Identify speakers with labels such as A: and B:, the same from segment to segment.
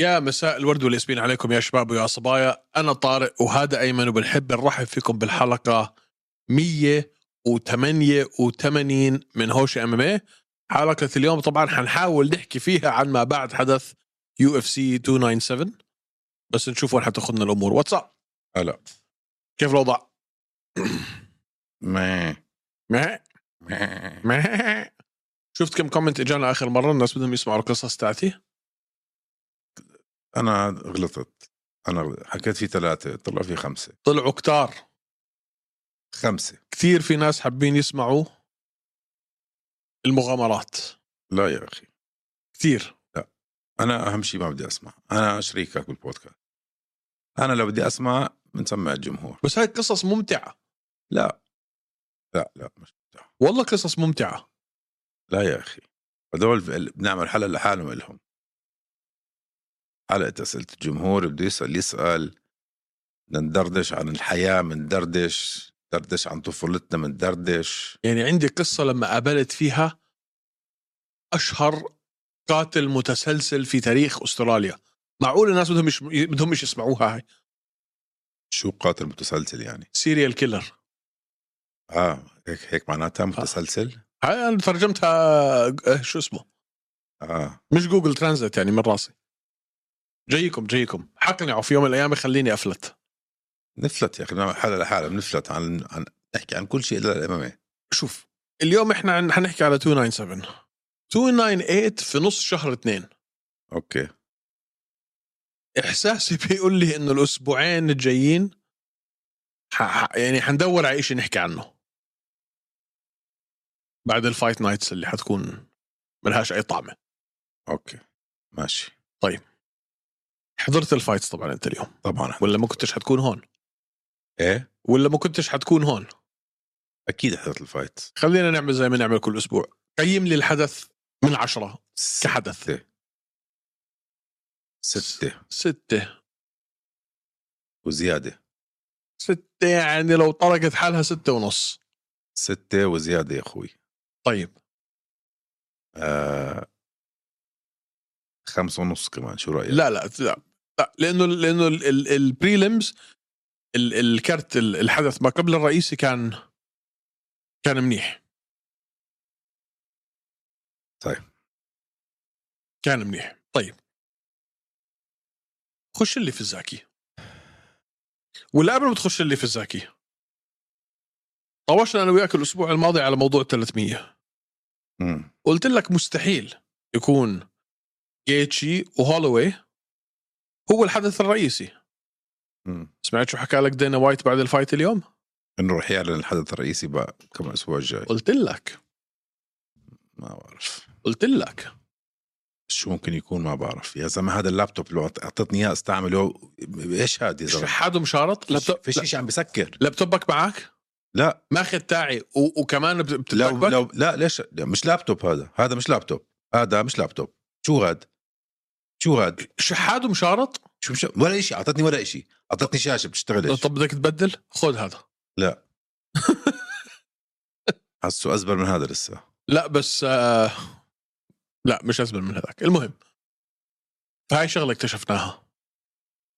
A: يا مساء الورد والياسمين عليكم يا شباب ويا صبايا أنا طارق وهذا أيمن وبنحب نرحب فيكم بالحلقة 188 من هوش ام ام إيه. حلقة اليوم طبعا حنحاول نحكي فيها عن ما بعد حدث يو اف سي 297 بس نشوف وين حتاخذنا الأمور واتساب
B: هلا
A: كيف الوضع؟
B: ما
A: مه- مه. شفت كم كومنت اجانا اخر مره الناس بدهم يسمعوا القصص تاعتي
B: انا غلطت انا غلطت. حكيت في ثلاثه طلع في خمسه
A: طلعوا كتار
B: خمسه
A: كثير في ناس حابين يسمعوا المغامرات
B: لا يا اخي
A: كثير
B: انا اهم شيء ما بدي اسمع انا شريكك بالبودكاست انا لو بدي اسمع بنسمع الجمهور
A: بس هاي قصص ممتعه
B: لا لا لا مش متاح.
A: والله قصص ممتعه
B: لا يا اخي هذول ال- بنعمل حلقه لحالهم الهم حلقه اسئله الجمهور بده يسال يسال بدنا ندردش عن الحياه مندردش ندردش عن طفولتنا مندردش
A: يعني عندي قصه لما قابلت فيها اشهر قاتل متسلسل في تاريخ استراليا معقول الناس بدهم مش بدهم مش يسمعوها هاي
B: شو قاتل متسلسل يعني
A: سيريال كيلر
B: اه هيك هيك معناتها متسلسل
A: هاي انا ترجمتها آه، شو اسمه
B: اه
A: مش جوجل ترانزيت يعني من راسي جايكم جايكم حقنعوا في يوم من الايام يخليني افلت
B: نفلت يا اخي بنعمل حلقه لحالها بنفلت عن عن نحكي عن كل شيء الا الامامي
A: شوف اليوم احنا عن- حنحكي على 297 298 في نص شهر اثنين
B: اوكي
A: احساسي بيقول لي انه الاسبوعين الجايين ح... ح- يعني حندور على شيء نحكي عنه بعد الفايت نايتس اللي حتكون ملهاش اي طعمه
B: اوكي ماشي
A: حضرت الفايتس طبعا انت اليوم
B: طبعا
A: ولا ما كنتش حتكون هون
B: ايه
A: ولا ما كنتش حتكون هون
B: اكيد حضرت الفايت
A: خلينا نعمل زي ما نعمل كل اسبوع قيم لي الحدث من عشرة كحدث
B: ستة ستة
A: ستة
B: وزيادة
A: ستة يعني لو طرقت حالها ستة ونص
B: ستة وزيادة يا اخوي
A: طيب
B: آه خمسة ونص كمان شو رأيك؟
A: لا لا لا, لا لأنه لأنه ال- ال- البريلمز ال- الكرت ال- الحدث ما قبل الرئيسي كان كان منيح
B: طيب.
A: كان منيح طيب خش اللي في الزاكي ولا قبل ما تخش اللي في الزاكي طوشنا انا وياك الاسبوع الماضي على موضوع 300
B: مم.
A: قلت لك مستحيل يكون جيتشي وهولوي هو الحدث الرئيسي
B: مم.
A: سمعت شو حكى لك دينا وايت بعد الفايت اليوم
B: انه رح يعلن الحدث الرئيسي بقى كم اسبوع الجاي
A: قلت لك
B: ما بعرف
A: قلت لك
B: شو ممكن يكون ما بعرف يا زلمه هذا اللابتوب اللي اعطتني اياه استعمله ايش هذا يا زلمه
A: شحاد ومشارط لابتوب
B: في شيء عم بسكر
A: لابتوبك معك
B: لا
A: ماخذ تاعي و... وكمان بت-
B: لو
A: بتتبك
B: لو لا ليش لا، مش لابتوب هذا هذا مش لابتوب هذا مش لابتوب شو هاد شو هاد
A: شحاد ومشارط
B: شو مش ولا شيء اعطتني ولا شيء اعطتني شاشه بتشتغلش
A: طب بدك تبدل خذ هذا
B: حاسه ازبل من هذا لسه
A: لا بس آه... لا مش ازمن من هذاك المهم فهاي شغله اكتشفناها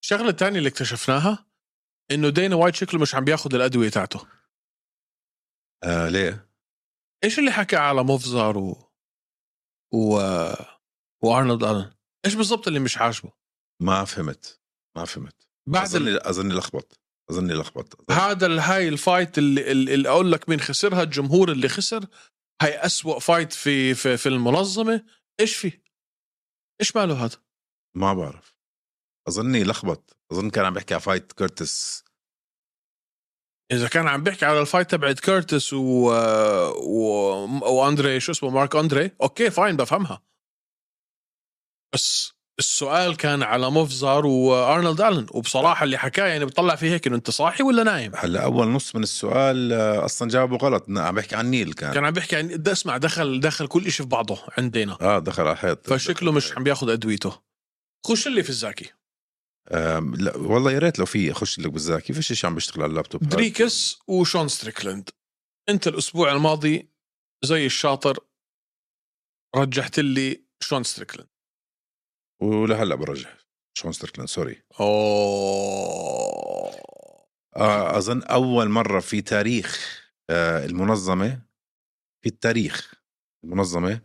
A: الشغله الثانيه اللي اكتشفناها انه دينا وايت شكله مش عم بياخذ الادويه تاعته
B: آه ليه
A: ايش اللي حكى على مفزر و و وارنولد الن ايش بالضبط اللي مش عاجبه
B: ما فهمت ما فهمت
A: بعد ال...
B: اظني اظني لخبط اظني لخبط
A: هذا ال- هاي الفايت اللي, اللي اقول لك مين خسرها الجمهور اللي خسر هاي أسوأ فايت في في, في المنظمه ايش في ايش ماله هذا
B: ما بعرف اظني لخبط اظن كان عم بيحكي على فايت كورتس
A: اذا كان عم بيحكي على الفايت تبعت كيرتس و... و... واندري شو اسمه مارك اندري اوكي فاين بفهمها بس السؤال كان على مفزر وارنولد الن وبصراحه اللي حكاه يعني بطلع فيه هيك انه انت صاحي ولا نايم
B: هلا اول نص من السؤال آه، اصلا جاوبه غلط إنه عم بيحكي عن نيل كان,
A: كان عم بيحكي عن ده اسمع دخل دخل كل شيء في بعضه عندنا
B: اه دخل على الحيط
A: فشكله مش عم بياخذ ادويته خش اللي في الزاكي
B: آم، لا والله يا ريت لو في اخش لك بالذاكي فيش شيء عم بيشتغل على اللابتوب هذا.
A: دريكس وشون ستريكلند انت الاسبوع الماضي زي الشاطر رجحت لي شون ستريكلند
B: ولهلا برجع شون ستريكلاند سوري
A: اوه
B: آه، اظن اول مره في تاريخ آه، المنظمه في التاريخ المنظمه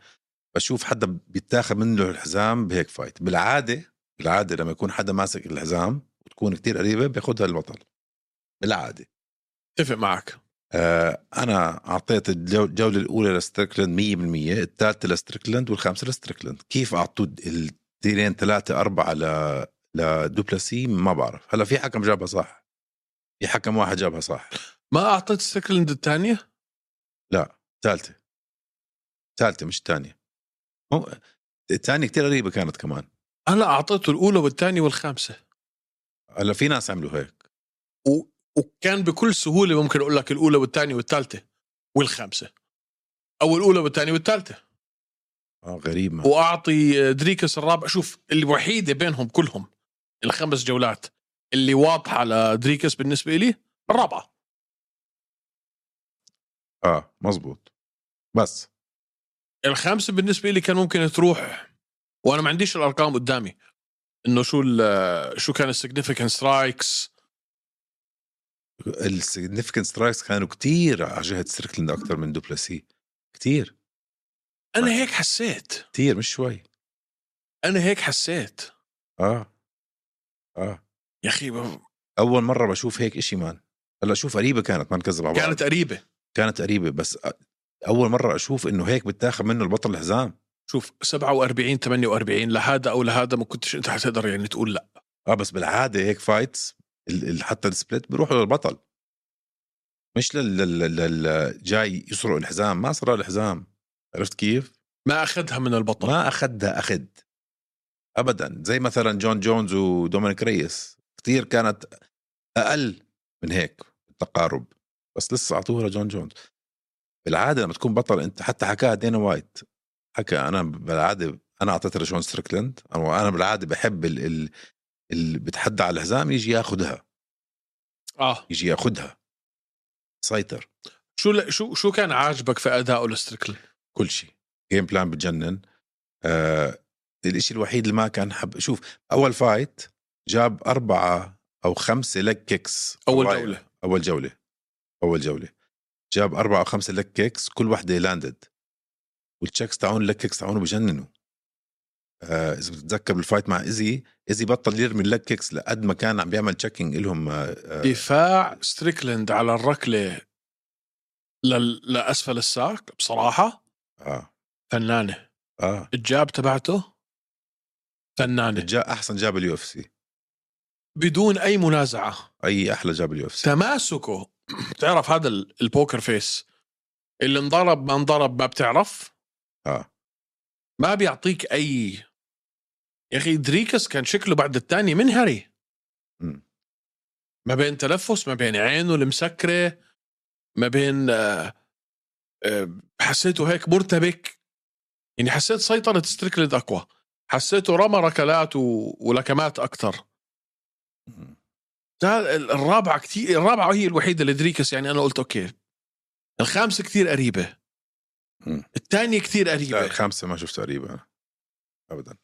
B: بشوف حدا بيتاخذ منه الحزام بهيك فايت بالعاده بالعاده لما يكون حدا ماسك الحزام وتكون كتير قريبه بياخذها البطل بالعاده
A: اتفق معك
B: آه، انا اعطيت الجو- الجوله الاولى لستريكلاند 100% الثالثه لستريكلاند والخامسه لستريكلاند كيف اعطوا التيرين ثلاثه اربعه ل لدوبلاسي ما بعرف هلا في حكم جابها صح في حكم واحد جابها صح
A: ما اعطيت ستريكلاند الثانيه؟
B: ثالثه ثالثه مش الثانيه مو الثانيه كثير قريبه كانت كمان
A: انا اعطيته الاولى والثانيه والخامسه
B: هلا في ناس عملوا هيك
A: و... وكان بكل سهوله ممكن اقول لك الاولى والثانيه والثالثه والخامسه او الاولى والثانيه والثالثه
B: اه غريب ما.
A: واعطي آه، دريكس الرابع شوف الوحيده بينهم كلهم الخمس جولات اللي واضحه لدريكس بالنسبه لي الرابعه
B: اه مزبوط بس
A: الخامسه بالنسبه لي كان ممكن تروح وانا ما عنديش الارقام قدامي انه شو ال- آه، شو كان السيجنفكنس سترايكس
B: السيجنفكنت سترايكس كانوا كتير على جهه ستريكلاند اكثر من دوبلاسي كتير
A: انا هيك حسيت
B: كتير مش شوي
A: انا هيك حسيت
B: اه اه
A: يا اخي ب-
B: اول مره بشوف هيك إشي مان هلا شوف قريبه كانت ما نكذب على بعض
A: كانت قريبه
B: كانت قريبه بس أ- اول مره اشوف انه هيك بتاخذ منه البطل الحزام
A: شوف 47 48 لهذا او لهذا ما كنتش انت حتقدر يعني تقول لا
B: اه بس بالعاده هيك فايتس ال- ال- حتى السبليت بيروحوا للبطل مش لل- لل- لل- لل- جاي يسرق الحزام ما سرق الحزام عرفت كيف؟
A: ما اخذها من البطل
B: ما اخذها اخذ ابدا زي مثلا جون جونز ودومينيك ريس كثير كانت اقل من هيك التقارب بس لسه اعطوها لجون جونز بالعاده لما تكون بطل انت حتى حكاها دينا وايت حكى انا بالعاده انا اعطيتها لجون ستريكلاند انا أنا بالعاده بحب ال- ال- اللي بتحدى على الحزام يجي ياخذها
A: اه
B: يجي ياخذها سيطر
A: شو شو شو كان عاجبك في اداءه لستريكلاند
B: كل شيء جيم بلان بتجنن آه الاشي الوحيد اللي ما كان حب شوف اول فايت جاب اربعه او خمسه لك كيكس
A: اول
B: رايح.
A: جوله
B: اول جوله اول جوله جاب اربعه او خمسه لك كيكس كل وحده لاندد والتشيكس تاعون اللك كيكس تاعونه بجننوا آه اذا بتتذكر بالفايت مع ايزي ايزي بطل يرمي اللك كيكس لقد ما كان عم بيعمل تشيكينج لهم آه آه
A: دفاع ستريكلاند على الركله لل... لاسفل الساق بصراحه
B: اه,
A: فنانه
B: آه.
A: الجاب تبعته فنانه
B: جا احسن جاب اليو اف سي
A: بدون اي منازعه
B: اي احلى جاب اليو اف سي
A: تماسكه بتعرف هذا ال- البوكر فيس اللي انضرب ما انضرب ما بتعرف
B: اه
A: ما بيعطيك اي يا اخي دريكس كان شكله بعد الثاني منهري
B: مم.
A: ما بين تلفس ما بين عينه المسكره ما بين آه، آه، حسيته هيك مرتبك يعني حسيت سيطره ستريكلد اقوى حسيته رمى ركلات و... ولكمات اكثر
B: مم.
A: ده ال- الرابعه كتير الرابعه هي الوحيده اللي دريكس يعني انا قلت اوكي الخامسه كتير قريبه
B: مم. طيب.
A: الثانيه كتير
B: لا
A: قريبه
B: الخامسة ما شفت قريبة أنا أبدا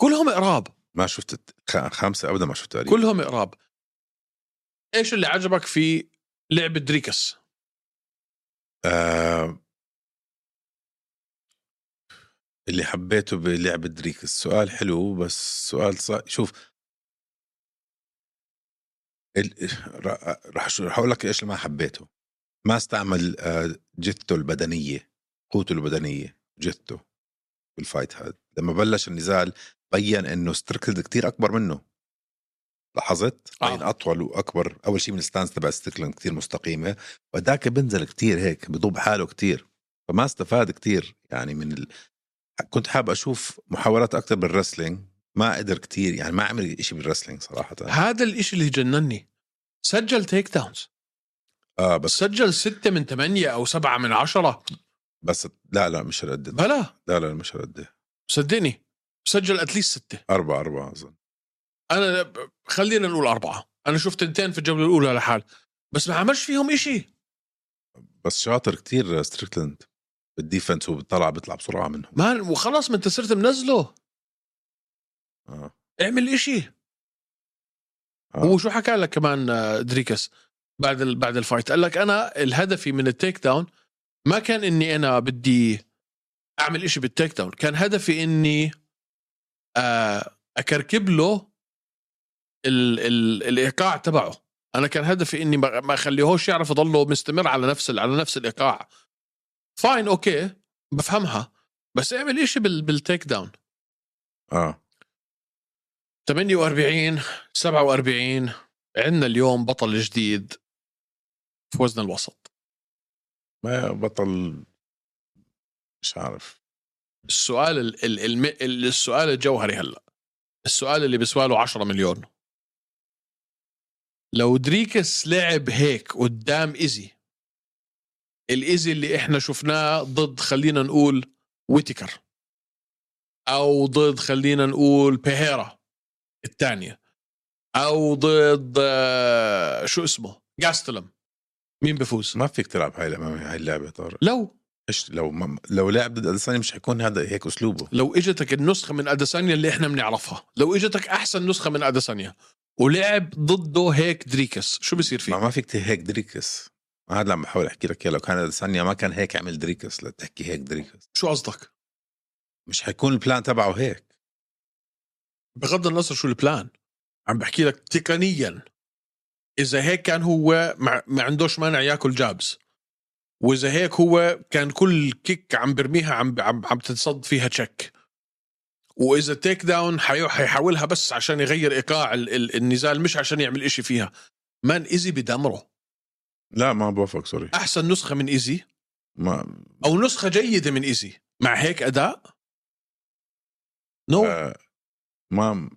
A: كلهم قراب
B: ما شفت الت- الخامسة أبدا ما شفت قريبة
A: كلهم قراب ايش اللي عجبك في لعبه دريكس
B: آه اللي حبيته بلعبة دريك السؤال حلو بس سؤال صع... شوف ال... ر- رح شو- رح أقول لك إيش اللي ما حبيته ما استعمل آه، جثته البدنية قوته البدنية جثته بالفايت هذا لما بلش النزال بين انه ستريكلد كتير اكبر منه لاحظت؟
A: آه.
B: بين اطول واكبر اول شيء من الستانس تبع ستريكلند كتير مستقيمه وذاك بنزل كتير هيك بضب حاله كتير فما استفاد كتير يعني من ال... كنت حاب اشوف محاولات اكثر بالرسلينج ما قدر كتير يعني ما عمل شيء بالرسلينج صراحه
A: هذا الاشي اللي جنني سجل تيك داونز
B: اه بس
A: سجل ستة من ثمانية أو سبعة من عشرة
B: بس لا لا مش هالقد
A: بلا
B: لا لا مش هالقد
A: صدقني سجل أتليست ستة
B: أربعة أربعة أظن
A: أنا ب- خلينا نقول أربعة أنا شفت تنتين في الجولة الأولى لحال بس ما عملش فيهم إشي
B: بس شاطر كتير ستريكلند بالديفنس وبيطلع بيطلع بسرعه منهم
A: ما وخلاص ما أنت صرت منزله
B: اه
A: اعمل إشي
B: آه.
A: هو شو حكى لك كمان آه، دريكس بعد ال... بعد الفايت قال لك انا الهدفي من التيك داون ما كان اني انا بدي اعمل إشي بالتيك داون كان هدفي اني آه، اكركب له ال... ال... الايقاع تبعه انا كان هدفي اني ما ما اخليهوش يعرف يضله مستمر على نفس ال- على نفس الايقاع فاين اوكي بفهمها بس اعمل إشي بال... بالتيك داون
B: اه
A: 48 47 عندنا اليوم بطل جديد في وزن الوسط
B: ما بطل مش عارف
A: السؤال ال ال الم- ال السؤال الجوهري هلا السؤال اللي بسواله 10 مليون لو دريكس لعب هيك قدام ايزي الايزي اللي احنا شفناه ضد خلينا نقول ويتكر او ضد خلينا نقول بيهيرا الثانيه او ضد آه، شو اسمه جاستلم مين بفوز
B: ما فيك تلعب هاي الأمام- هاي اللعبه طارق
A: لو
B: ايش لو ما لو لعب ضد اديسانيا مش حيكون هذا هيك اسلوبه
A: لو اجتك النسخه من اديسانيا اللي احنا بنعرفها لو اجتك احسن نسخه من اديسانيا ولعب ضده هيك دريكس شو بصير
B: ما
A: فيه
B: ما فيك هيك دريكس ما هذا اللي عم بحاول احكي لك اياه لو كان اديسانيا ما كان هيك عمل دريكس لتحكي هيك دريكس
A: شو قصدك
B: مش حيكون البلان تبعه هيك
A: بغض النظر شو البلان عم بحكي لك تقنيا اذا هيك كان هو ما ما عندوش مانع ياكل جابز واذا هيك هو كان كل كيك عم برميها عم عم, عم تتصد فيها تشك واذا تيك داون حيو- حيحاولها بس عشان يغير ايقاع ال- ال- النزال مش عشان يعمل إشي فيها مان ايزي بدمره
B: لا ما بوافق سوري
A: احسن نسخه من ايزي
B: ما
A: او نسخه جيده من ايزي مع هيك اداء نو no.
B: آه، ما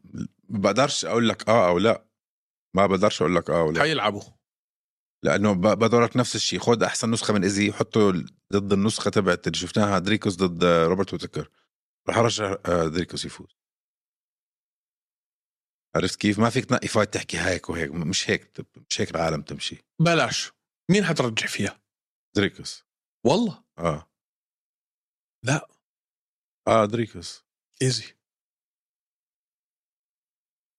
B: بقدرش اقول لك اه او لا ما بقدرش اقول لك اه او لا
A: حيلعبوا
B: لانه ب- بقدر لك نفس الشيء خد احسن نسخه من ايزي حطه ضد النسخه تبعت اللي شفناها دريكوس ضد آه، روبرت وتكر رح ارجع آه، دريكوس يفوز عرفت كيف؟ ما فيك تنقي فايت تحكي هيك وهيك مش هيك تب- مش هيك العالم تمشي
A: بلاش مين حترجع فيها
B: دريكوس
A: والله
B: اه
A: لا.
B: اه دريكوس
A: ايزي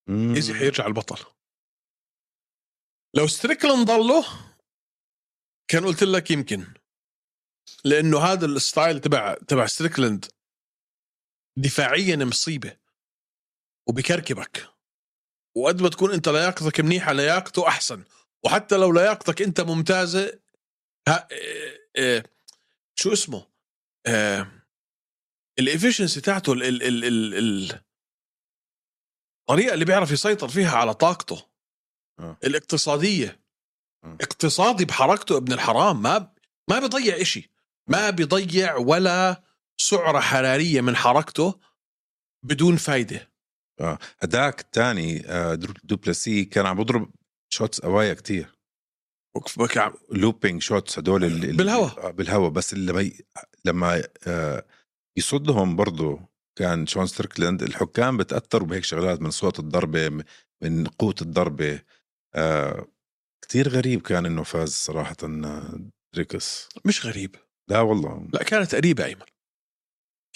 B: مم.
A: ايزي حيرجع البطل لو ستريكلن ضله كان قلت لك يمكن لانه هذا الستايل تبع تبع ستريكلند دفاعيا مصيبه وبكركبك وقد ما تكون انت لياقتك منيحه لياقته احسن وحتى لو لياقتك انت ممتازه ها إيه إيه شو اسمه الافشنسي تاعته ال ال ال ال ال الطريقه اللي بيعرف يسيطر فيها على طاقته
B: آه.
A: الاقتصاديه
B: آه.
A: اقتصادي بحركته ابن الحرام ما ب- ما بيضيع إشي
B: آه.
A: ما بيضيع ولا سعره حراريه من حركته بدون فايده
B: هداك الثاني آه، درو- دوبلاسي كان عم بضرب شوتس اوايا كتير
A: وقف بك عم-
B: لوبينج شوتس هدول اللي اللي-
A: بالهوا.
B: آه، بالهوا بس لما ي- لما آه، يصدهم برضه كان شون ستريكلاند الحكام بتاثروا بهيك شغلات من صوت الضربه م- من قوه الضربه آه، كتير غريب كان انه فاز صراحه آه، دريكس
A: مش غريب
B: لا والله
A: لا كانت قريبه ايمن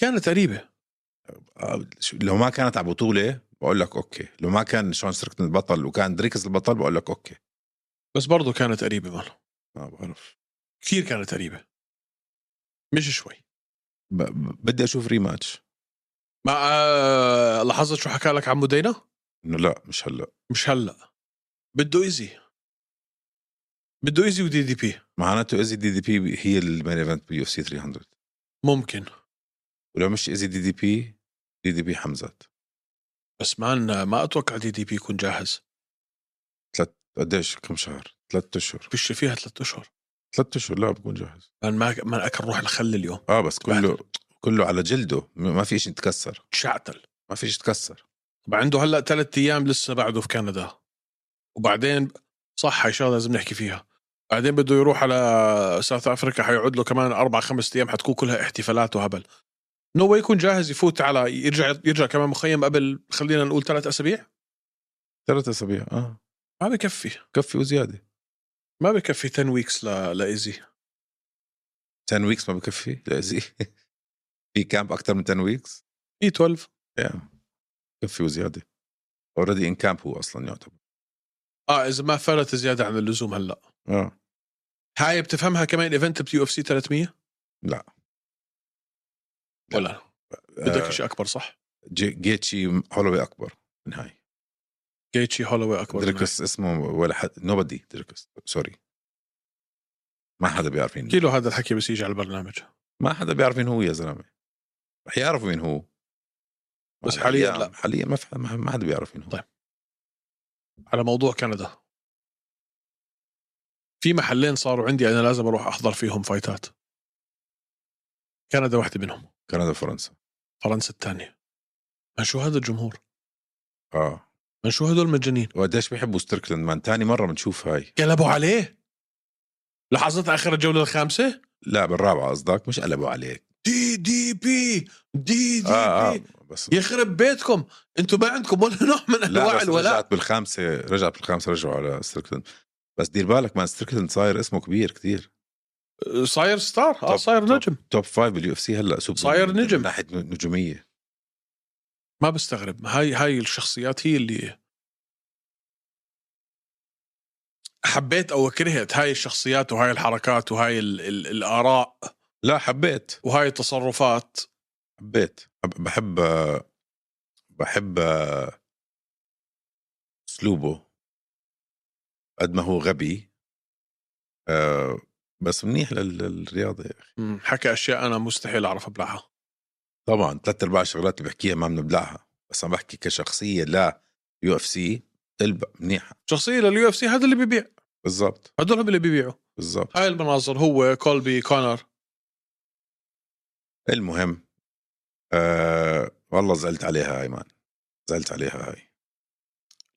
A: كانت قريبه
B: آه، شو- لو ما كانت على بطوله بقول لك اوكي لو ما كان شون ستريكلاند البطل وكان دريكس البطل بقول لك اوكي
A: بس برضه كانت قريبه مان
B: ما بعرف
A: كثير كانت قريبه مش شوي
B: ب- ب- بدي اشوف ريماتش
A: ما آه، لاحظت شو حكى لك عمو دينا
B: انه لا مش هلا
A: مش هلا بده ايزي بده ايزي ودي دي بي
B: معناته ازي دي دي بي هي المين ايفنت بيو اف سي 300
A: ممكن
B: ولو مش ازي دي دي بي دي دي بي حمزات
A: بس مان ما اتوقع دي دي بي يكون جاهز
B: قديش كم شهر؟ ثلاث اشهر
A: فيش فيها ثلاثة اشهر
B: ثلاث اشهر لا بكون جاهز
A: مان ما ما اكل روح الخل اليوم
B: اه بس كله كله على جلده م- ما في شيء يتكسر
A: شعتل
B: ما في شيء يتكسر
A: طبعا عنده هلا ثلاث ايام لسه بعده في كندا وبعدين صح هاي شغله لازم نحكي فيها بعدين بده يروح على ساوث افريكا حيقعد له كمان اربع خمس ايام حتكون كلها احتفالات وهبل نو واي يكون جاهز يفوت على يرجع يرجع كمان مخيم قبل خلينا نقول ثلاث اسابيع
B: ثلاث اسابيع اه
A: ما بكفي
B: كفي وزياده
A: ما بكفي 10 ويكس ل... لايزي
B: 10 ويكس ما بكفي لا زي
A: E
B: في كامب اكثر من 10 ويكس
A: في 12
B: كفي وزياده اوريدي ان كامب هو اصلا يعتبر
A: اه اذا ما فرت زياده عن اللزوم هلا
B: اه
A: آه. هاي بتفهمها كمان ايفنت بيو اف سي 300
B: لا آه.
A: ولا بدك شيء اكبر صح
B: جي- جيتشي هولوي اكبر من هاي
A: جيتشي هولوي اكبر من هاي.
B: دريكوس اسمه ولا حد نوبدي دريكوس سوري ما حدا بيعرف مين
A: كيلو هذا الحكي بس يجي على البرنامج
B: ما حدا بيعرف مين هو يا زلمه رح يعرفوا مين هو
A: بس
B: مع
A: حالياً
B: الأيام-
A: لا.
B: حاليا ما في- ما ما حدا بيعرف مين هو
A: طيب. على موضوع كندا في محلين صاروا عندي انا لازم اروح احضر فيهم فايتات كندا واحده منهم
B: كندا فرنسا
A: فرنسا الثانيه من شو هذا الجمهور
B: اه
A: من شو هدول مجانين
B: وقديش بيحبوا ستيركلاند مان تاني مره بنشوف هاي
A: قلبوا عليه لاحظت اخر الجوله الخامسه
B: لا بالرابعه قصدك مش قلبوا عليك
A: دي دي بي دي دي
B: اه
A: بي
B: اه بس
A: يخرب بيتكم انتم ما عندكم ولا نوع من
B: لا
A: انواع
B: بس
A: الولاء
B: رجعت بالخامسه رجعت بالخامسه رجعوا على ستيركلاند بس دير بالك مان ستيركلاند صاير اسمه كبير كثير
A: صاير ستار اه
B: طب-
A: صاير
B: طب.
A: نجم
B: توب فايف باليو اف سي هلا سوبر
A: صاير نجم.
B: من ناحيه نجوميه
A: ما بستغرب هاي هاي الشخصيات هي اللي حبيت او كرهت هاي الشخصيات وهاي الحركات وهاي ال ال الاراء
B: لا حبيت
A: وهاي التصرفات
B: حبيت أب- بحب بحب اسلوبه قد ما هو غبي آه، بس منيح لل- للرياضه يا اخي
A: مم، حكى اشياء انا مستحيل اعرف ابلعها
B: طبعا ثلاث ارباع الشغلات اللي بحكيها ما بنبلعها بس عم بحكي كشخصيه لا يو اف سي منيحه
A: شخصيه لليو اف سي هذا اللي بيبيع
B: بالضبط
A: هدول هم اللي بيبيعوا
B: بالضبط
A: هاي المناظر هو كولبي كونر
B: المهم آه والله زعلت عليها هاي مان زعلت عليها هاي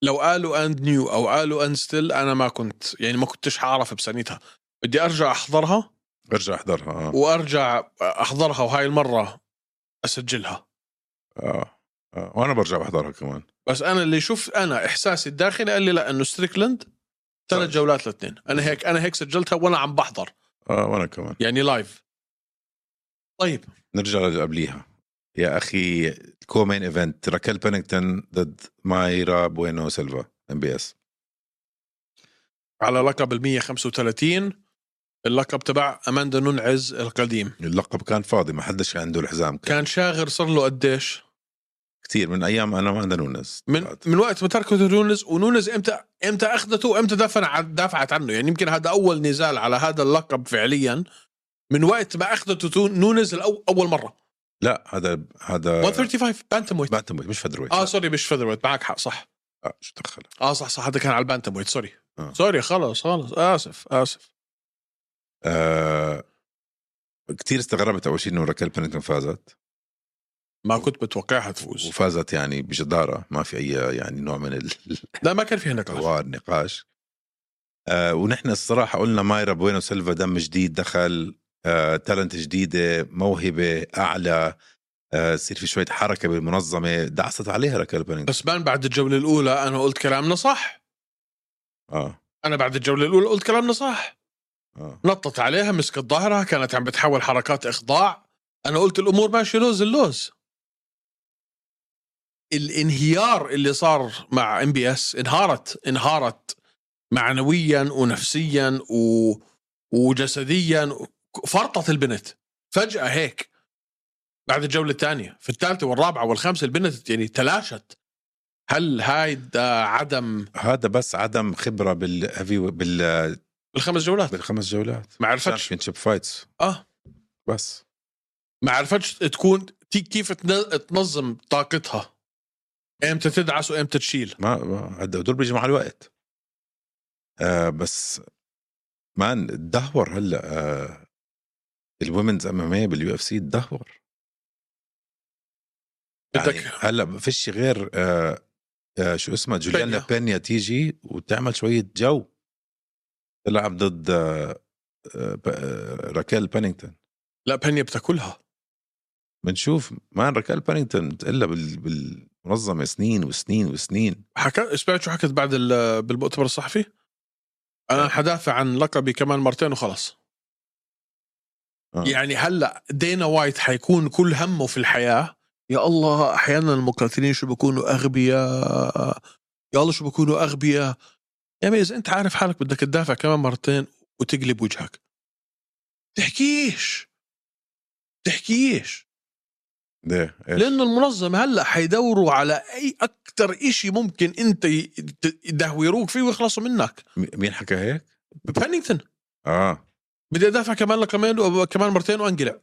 A: لو قالوا اند نيو او قالوا اند ستيل انا ما كنت يعني ما كنتش حعرف بسنتها بدي ارجع احضرها
B: ارجع احضرها آه.
A: وارجع احضرها وهاي المره اسجلها
B: آه. آه. وانا برجع بحضرها كمان
A: بس انا اللي شفت انا احساسي الداخلي قال لي لا انه ستريكلاند ثلاث
B: صح.
A: جولات الاثنين انا هيك انا هيك سجلتها وانا عم بحضر
B: اه وانا كمان
A: يعني لايف طيب
B: نرجع للي قبليها يا اخي الكومين ايفنت راكل بانكتون ضد مايرا بوينو سيلفا ام بي اس
A: على لقب ال 135 اللقب تبع اماندا ننعز القديم
B: اللقب كان فاضي ما حدش كان عنده الحزام كان
A: كان شاغر صار له قديش
B: كثير من ايام انا ما عندنا نونز
A: من من وقت ما تركته نونز ونونز امتى امتى اخذته وامتى دافن عن دافعت عنه يعني يمكن هذا اول نزال على هذا اللقب فعليا من وقت ما اخذته تو- نونز الأو- اول مره
B: لا هذا هذا
A: 135 بانتم ويت
B: بانتم ويت مش فدر ويت
A: اه سوري مش فيذر ويت معك حق صح
B: آه، شو دخل
A: اه صح صح هذا كان على البانتم ويت سوري
B: آه.
A: سوري خلص خلص اسف اسف
B: آه كثير استغربت اول شيء انه راكل بانكتون فازت
A: ما كنت متوقعها تفوز
B: وفازت يعني بجداره ما في اي يعني نوع من ال-
A: لا ما كان فيها نقاش
B: حوار نقاش آه ونحن الصراحه قلنا مايرا بوينو سيلفا دم جديد دخل آه تالنت جديده موهبه اعلى آه صير في شويه حركه بالمنظمه دعست عليها راكل بانينج
A: بس بان بعد الجوله الاولى انا قلت كلامنا صح
B: اه
A: انا بعد الجوله الاولى قلت كلامنا صح
B: اه
A: نطت عليها مسكت ظهرها كانت عم بتحاول حركات اخضاع انا قلت الامور ماشيه لوز اللوز الانهيار اللي صار مع ام بي اس انهارت انهارت معنويا ونفسيا و... وجسديا فرطت البنت فجأة هيك بعد الجولة الثانية في الثالثة والرابعة والخامسة البنت يعني تلاشت هل هيدا عدم
B: هذا بس عدم خبره بالهيفي بال
A: بالخمس جولات
B: بالخمس جولات
A: ما عرفتش
B: شيب فايتس
A: اه
B: بس
A: ما عرفتش تكون تي- كيف تن- تنظم طاقتها امتى تدعس وامتى تشيل
B: ما ما- هاد- هدول بيجوا مع الوقت آه بس مان تدهور هلا آه الومنز ام ام باليو اف سي تدهور يعني
A: بدك
B: هلا ما فيش غير آه آه شو اسمها جوليانا
A: بينيا.
B: بينيا تيجي وتعمل شويه جو تلعب ضد آه آه ب- آه، راكيل بانينغتون
A: لا بنيا بتاكلها
B: بنشوف مان راكيل بانينغتون بتقلها بال- بالمنظمه سنين وسنين وسنين
A: حكى سمعت شو حكت بعد ال- بالمؤتمر الصحفي انا حدافع عن لقبي كمان مرتين وخلص
B: آه.
A: يعني هلا دينا وايت حيكون كل همه في الحياه يا الله احيانا المقاتلين شو بيكونوا اغبياء قالوا شو بكونوا اغبياء يا عمي اذا انت عارف حالك بدك تدافع كمان مرتين وتقلب وجهك تحكيش تحكيش
B: ليه إيه، إيش؟
A: لانه المنظمه هلا حيدوروا على اي اكثر إشي ممكن انت ي- ت- يدهوروك فيه ويخلصوا منك
B: مي- مين حكى هيك؟
A: بانينغتون
B: اه
A: بدي ادافع كمان لكمان كمان مرتين وانقلع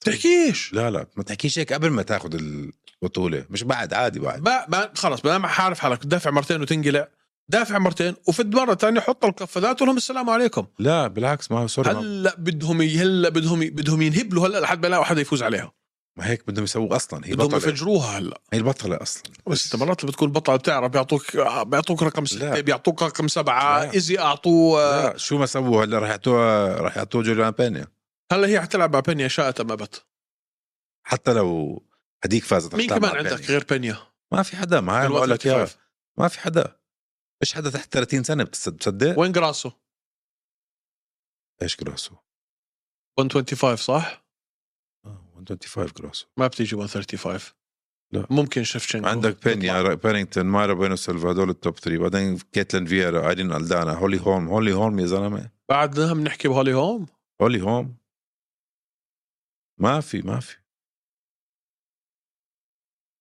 A: تحكيش
B: لا لا ما تحكيش هيك قبل ما تاخذ البطوله مش بعد عادي بعد
A: ما ما خلص ما ما عارف حالك تدافع مرتين وتنقلع دافع مرتين وفد مره ثانيه حط القفازات ولهم السلام عليكم
B: لا بالعكس ما هو سوري ما-
A: هلا بدهم ي- هلا بدهم ي- بدهم ينهبلوا هلا لحد ما يلاقوا حدا يفوز عليها
B: ما هيك بدهم يسووا اصلا هي
A: بدهم
B: بطله
A: يفجروها هلا
B: هي البطله اصلا
A: بس انت مرات اللي بتكون بطل بتعرف بيعطوك بيعطوك رقم
B: لا.
A: ستة بيعطوك رقم سبعة
B: لا.
A: ايزي اعطوه آه،
B: لا شو ما سووا هلا رح يعطوها رح يعطوها جوليان بانيا
A: هلا هي حتلعب مع بنيا شاءت ام ابت
B: حتى لو هديك فازت رح
A: مين
B: تلعب
A: كمان
B: مع
A: عندك
B: بانيا.
A: غير بنيا
B: ما في حدا ما هي بقول لك يا ما في حدا فيش حدا تحت 30 سنه بتصد- بتصدق
A: وين جراسو
B: ايش كراسو
A: 125 صح
B: آه، 125 كراسو
A: ما بتيجي 135
B: لا.
A: ممكن شفشنكو
B: عندك بينيا را- بينينغتون مايرا بينو سيلفا هدول التوب 3 بعدين كيتلين فييرا ايرين الدانا هولي هوم هولي هوم يا زلمه
A: بعدها بنحكي بهولي هوم
B: هولي هوم ما في ما في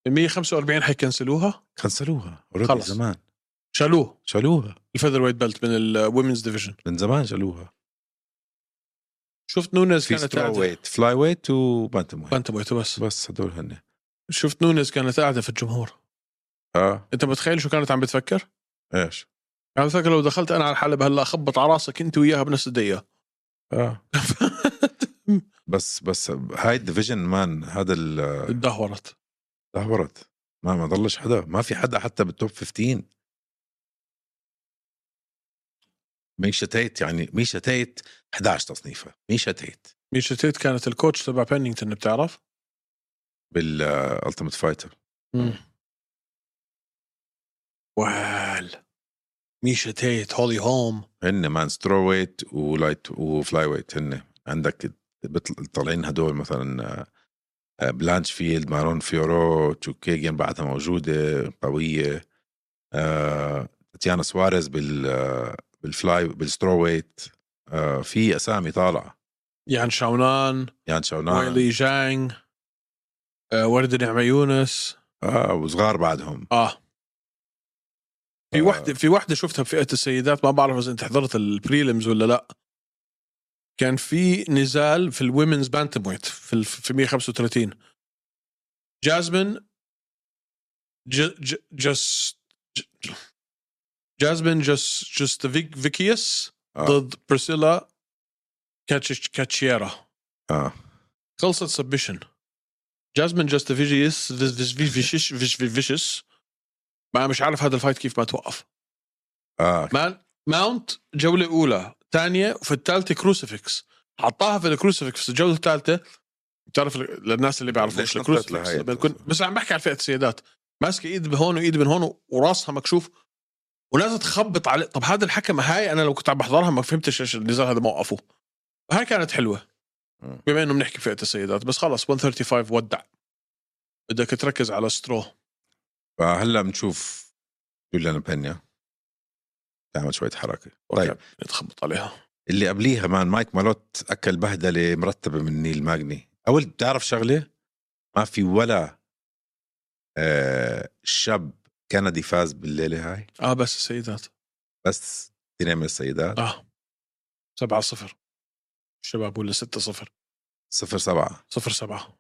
A: 145 حيكنسلوها
B: كنسلوها already
A: خلص.
B: زمان
A: شالوه
B: شالوها
A: الفيذر ويت بيلت من الومنز ديفيجن
B: من زمان شالوها
A: شفت نونز
B: في
A: كانت
B: ستار
A: قاعده
B: ويت فلاي ويت وبانتم ويت
A: بانتم ويت بس
B: بس هدول هن
A: شفت نونز كانت قاعده في الجمهور
B: اه
A: انت متخيل شو كانت عم بتفكر؟
B: ايش
A: عم بتفكر لو دخلت انا على الحلبه هلا اخبط على راسك انت وياها بنفس الدقيقه
B: اه بس بس هاي الديفيجن مان هذا ال-
A: تدهورت
B: دهورت ما ما ضلش حدا ما في حدا حتى بالتوب 15 ميشا تيت يعني ميشا تيت 11 تصنيفه ميشا تيت
A: ميشا تيت كانت الكوتش تبع بانينغتون بتعرف؟
B: بالالتيميت فايتر
A: وال ميشا تيت هولي هوم
B: هن مان سترو ويت ولايت وفلاي ويت هن عندك بطل- طالعين هدول مثلا آه، بلانش فيلد مارون فيورو تشوكيجن بعدها موجوده قويه آه، تاتيانا سواريز بال آه، بالفلاي بالسترو ويت آه، في اسامي طالعه
A: يعني شاونان
B: يان شاونان
A: ويلي جانج آه، ورد نعمة يونس
B: اه وصغار بعدهم
A: اه في
B: آه.
A: وحده في وحده شفتها بفئه السيدات ما بعرف اذا انت حضرت البريلمز ولا لا كان في نزال في الويمنز بانتم ويت في ال- في 135 جازمين ج ج جس ج- جازمين جس جست فيك فيكيس
B: آه.
A: ضد برسيلا كاتش كاتشيرا
B: اه
A: خلصت سبشن جازمين جاستيفيجيس فيشيش فيشيس ما مش عارف هذا الفايت كيف ما توقف
B: اه
A: مان ماونت جوله اولى ثانيه وفي الثالثه كروسيفكس حطاها في الكروسيفكس الجوله الثالثه بتعرف ال- للناس اللي
B: ليش
A: بيعرفوش
B: نطلت لها
A: الكروسيفكس
B: هي
A: بتكون
B: الكروسيفكس؟
A: بس عم بحكي عن فئه السيدات ماسكه ايد من هون وايد من هون وراسها مكشوف ونازله تخبط عليه طب هذا الحكم هاي انا لو كنت عم بحضرها ما فهمتش ايش النزال هذا موقفه هاي كانت حلوه
B: مم.
A: بما انه بنحكي فئه السيدات بس خلص 135 ودع بدك تركز على سترو
B: فهلا بنشوف جوليان بينيا تعمل شويه حركه طيب
A: أوكي، تخبط عليها
B: اللي قبليها مان مايك مالوت اكل بهدله مرتبه من نيل ماجني اول بتعرف شغله ما في ولا آه شاب كندي فاز بالليله هاي
A: اه بس السيدات
B: بس اثنين من السيدات
A: اه 7 0 الشباب ولا 6 0
B: صفر سبعة
A: 0 7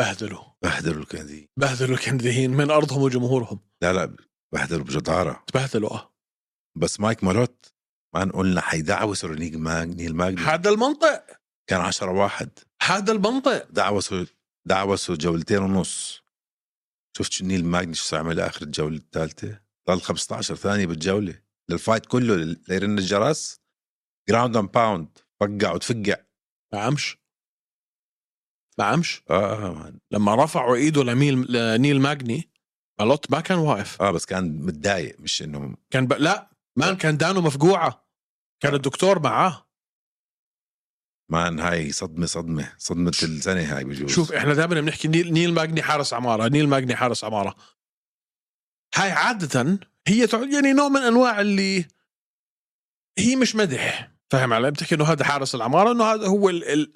A: بهدلوا
B: بهدلوا الكندي
A: بهدلوا الكنديين من ارضهم وجمهورهم
B: لا لا بهدلوا بجدارة
A: تبهدلوا اه
B: بس مايك مالوت مان قلنا حيدعوسوا نيل ماج- نيل ماجني
A: هذا المنطق
B: كان عشرة واحد
A: هذا المنطق
B: دعوسوا دعوسوا جولتين ونص شفت شو نيل ماجني شو صار عمل اخر الجوله الثالثه ضل 15 ثانيه بالجوله للفايت كله لل- ليرن الجرس جراوند اند باوند فقع وتفقع
A: ما عمش ما عمش
B: اه اه مان.
A: لما رفعوا ايده لميل لنيل ماجني مالوت ما كان واقف
B: اه بس كان متضايق مش انه
A: كان ب... لا مان كان دانه مفقوعه كان الدكتور معاه
B: مان هاي صدمه صدمه صدمه السنه هاي بجوز
A: شوف احنا دائما بنحكي نيل, نيل ماجني حارس عماره نيل ماجني حارس عماره هاي عادة هي تعد يعني نوع من انواع اللي هي مش مدح فاهم علي؟ بتحكي انه هذا حارس العماره انه هذا هو ال... ال...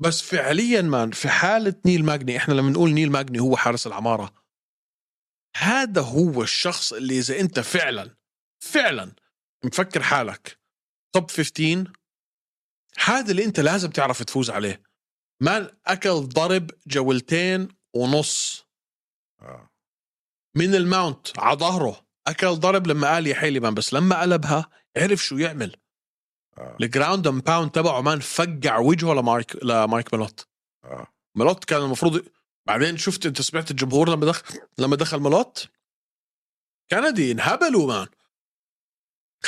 A: بس فعليا مان في حاله نيل ماجني احنا لما نقول نيل ماجني هو حارس العماره هذا هو الشخص اللي اذا انت فعلا فعلا مفكر حالك توب 15 هذا اللي انت لازم تعرف تفوز عليه مان اكل ضرب جولتين ونص
B: آه.
A: من الماونت على ظهره اكل ضرب لما قال يا حيلي مان بس لما قلبها عرف شو يعمل
B: آه.
A: الجراوند اند باوند تبعه مان فقع وجهه لمايك لمايك ملوت
B: آه.
A: ملوت كان المفروض بعدين شفت انت سمعت الجمهور لما دخل لما دخل ملوت كندي انهبلوا مان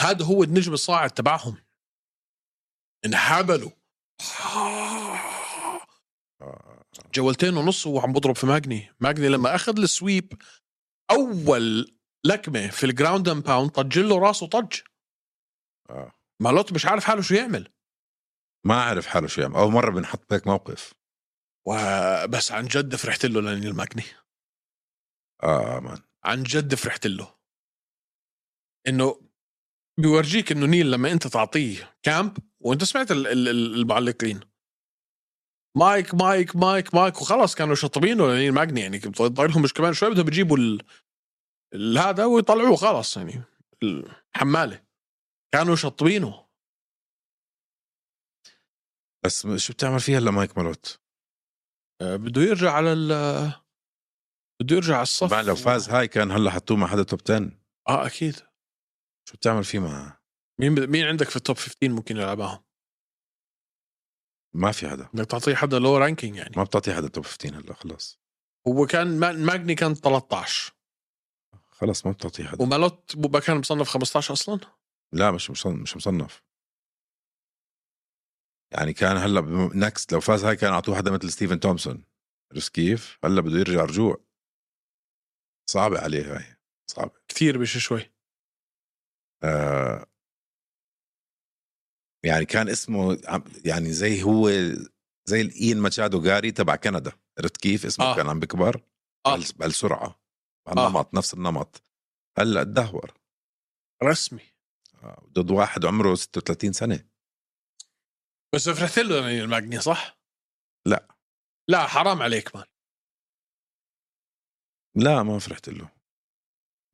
A: هذا هو النجم الصاعد تبعهم انهبلوا
B: آه.
A: جولتين ونص وهو عم بضرب في ماجني ماجني لما اخذ السويب اول لكمه في الجراوند اند باوند طج له راسه طج
B: آه.
A: مالوت مش عارف حاله شو يعمل
B: ما عارف حاله شو يعمل اول مره بنحط بهيك موقف
A: وبس عن جد فرحت له لنيل ماجني
B: اه مان
A: عن جد فرحت له انه بيورجيك انه نيل لما انت تعطيه كامب وانت سمعت ال- ال- ال- المعلقين مايك مايك مايك مايك وخلاص كانوا شطبينه لنيل ماجني يعني ضايل لهم مش كمان شوي بدهم يجيبوا ال- ال- هذا ويطلعوه خلاص يعني الحماله كانوا شطبينه
B: بس شو بتعمل فيها هلا مايك مالوت؟
A: آه، بده يرجع على ال بده يرجع على الصف
B: بعد لو فاز هاي كان هلا حطوه مع حدا توب 10
A: اه اكيد
B: شو بتعمل فيه معه؟
A: مين بد- مين عندك في التوب 15 ممكن يلعبها
B: ما في حدا
A: بدك تعطيه حدا لو رانكينج يعني
B: ما بتعطي حدا توب 15 هلا خلاص
A: هو كان ما- ماجني كان 13
B: خلاص ما بتعطي حدا
A: ومالوت بوبا كان مصنف 15 اصلا
B: لا مش مصنف مش مصنف يعني كان هلا نكست لو فاز هاي كان اعطوه حدا مثل ستيفن تومسون عرفت كيف؟ هلا بده يرجع رجوع صعبة عليه هاي صعبة
A: كثير مش شوي
B: آه يعني كان اسمه عم- يعني زي هو زي الاين ماتشادو جاري تبع كندا عرفت كيف اسمه
A: آه.
B: آه. كان عم بكبر
A: اه
B: بهال- بهالسرعة
A: آه.
B: النمط نفس النمط هلا تدهور
A: رسمي
B: آه، ضد واحد عمره 36 سنة
A: بس فرحت له يعني الماجني صح؟
B: لا.
A: لا حرام عليك مان
B: لا ما فرحت له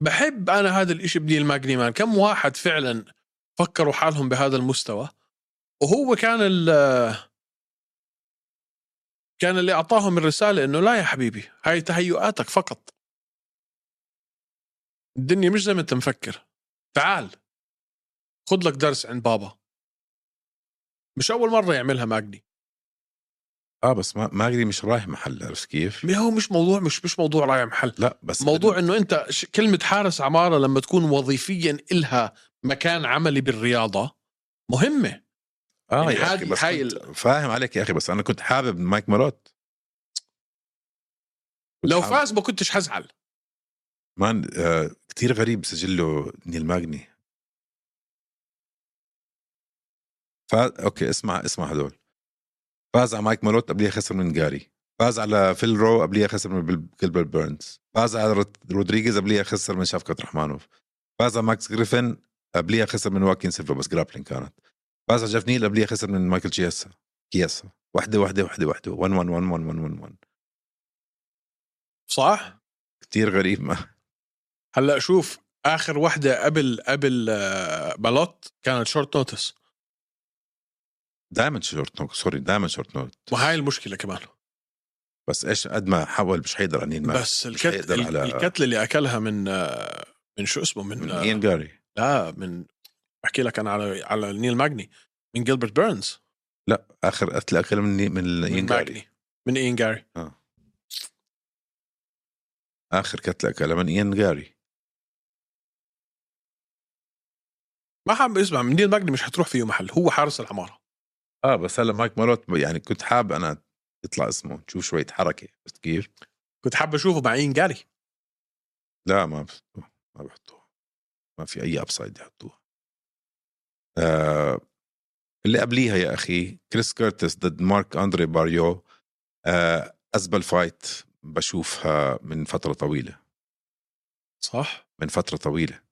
A: بحب انا هذا الاشي بنيل ماجني مان كم واحد فعلا فكروا حالهم بهذا المستوى وهو كان ال كان اللي اعطاهم الرساله انه لا يا حبيبي هاي تهيؤاتك فقط الدنيا مش زي ما انت مفكر تعال خذ لك درس عند بابا مش اول مره يعملها ماجني
B: اه بس ما ماجري مش رايح محل عرفت كيف؟
A: ما هو مش موضوع مش مش موضوع رايح محل
B: لا بس
A: موضوع انه انت ش- كلمه حارس عماره لما تكون وظيفيا الها مكان عملي بالرياضه مهمه
B: اه
A: يعني
B: يا
A: هاي-
B: اخي بس
A: هاي
B: كنت فاهم عليك يا اخي بس انا كنت حابب مايك مالوت كنت
A: لو
B: حابب.
A: فاز ما كنتش حزعل
B: مان آه كثير غريب سجله نيل ماجني فاز اوكي اسمع اسمع هدول فاز على مايك مالوت قبليها خسر من جاري فاز على فيل رو قبليها خسر من بل- جيلبرت بيرنز فاز على رود- رودريغيز قبليها خسر من شفقة رحمانوف فاز على ماكس جريفن قبليها خسر من واكين سيلفا بس جرابلين كانت فاز على جاف نيل قبليها خسر من مايكل جياسا كياسا وحده وحده وحده وحده 1 1 1 1 1 1 1
A: صح
B: كثير غريب ما
A: هلا شوف اخر وحده قبل قبل آه، بالوت كانت شورت نوتس
B: دائما شورت نوت سوري دائما شورت نوت
A: وهاي المشكله كمان
B: بس ايش قد ما حاول مش حيقدر عن نيل ماجني
A: بس
B: مش
A: الكت...
B: حيقدر
A: ال-
B: على-
A: الكتله اللي اكلها من آه، من شو اسمه من
B: من
A: آه،
B: اين جاري
A: لا من بحكي لك انا على على نيل ماجني من جيلبرت بيرنز
B: لا اخر قتله اكل من من
A: من
B: اين جاري
A: ماجني من اين جاري
B: اخر قتله اكلها من اين جاري
A: ما حاب اسمع من نيل ماجني مش حتروح فيه محل هو حارس العماره
B: اه بس هلا مايك مالوت يعني كنت حابب انا يطلع اسمه تشوف شويه حركه بس كيف
A: كنت حاب اشوفه مع اين جاري
B: لا ما بحطوها ما بحطوها ما في اي ابسايد يحطوها آه اللي قبليها يا اخي كريس كيرتس ضد مارك اندري باريو آه ازبل فايت بشوفها من فتره طويله
A: صح
B: من فتره طويله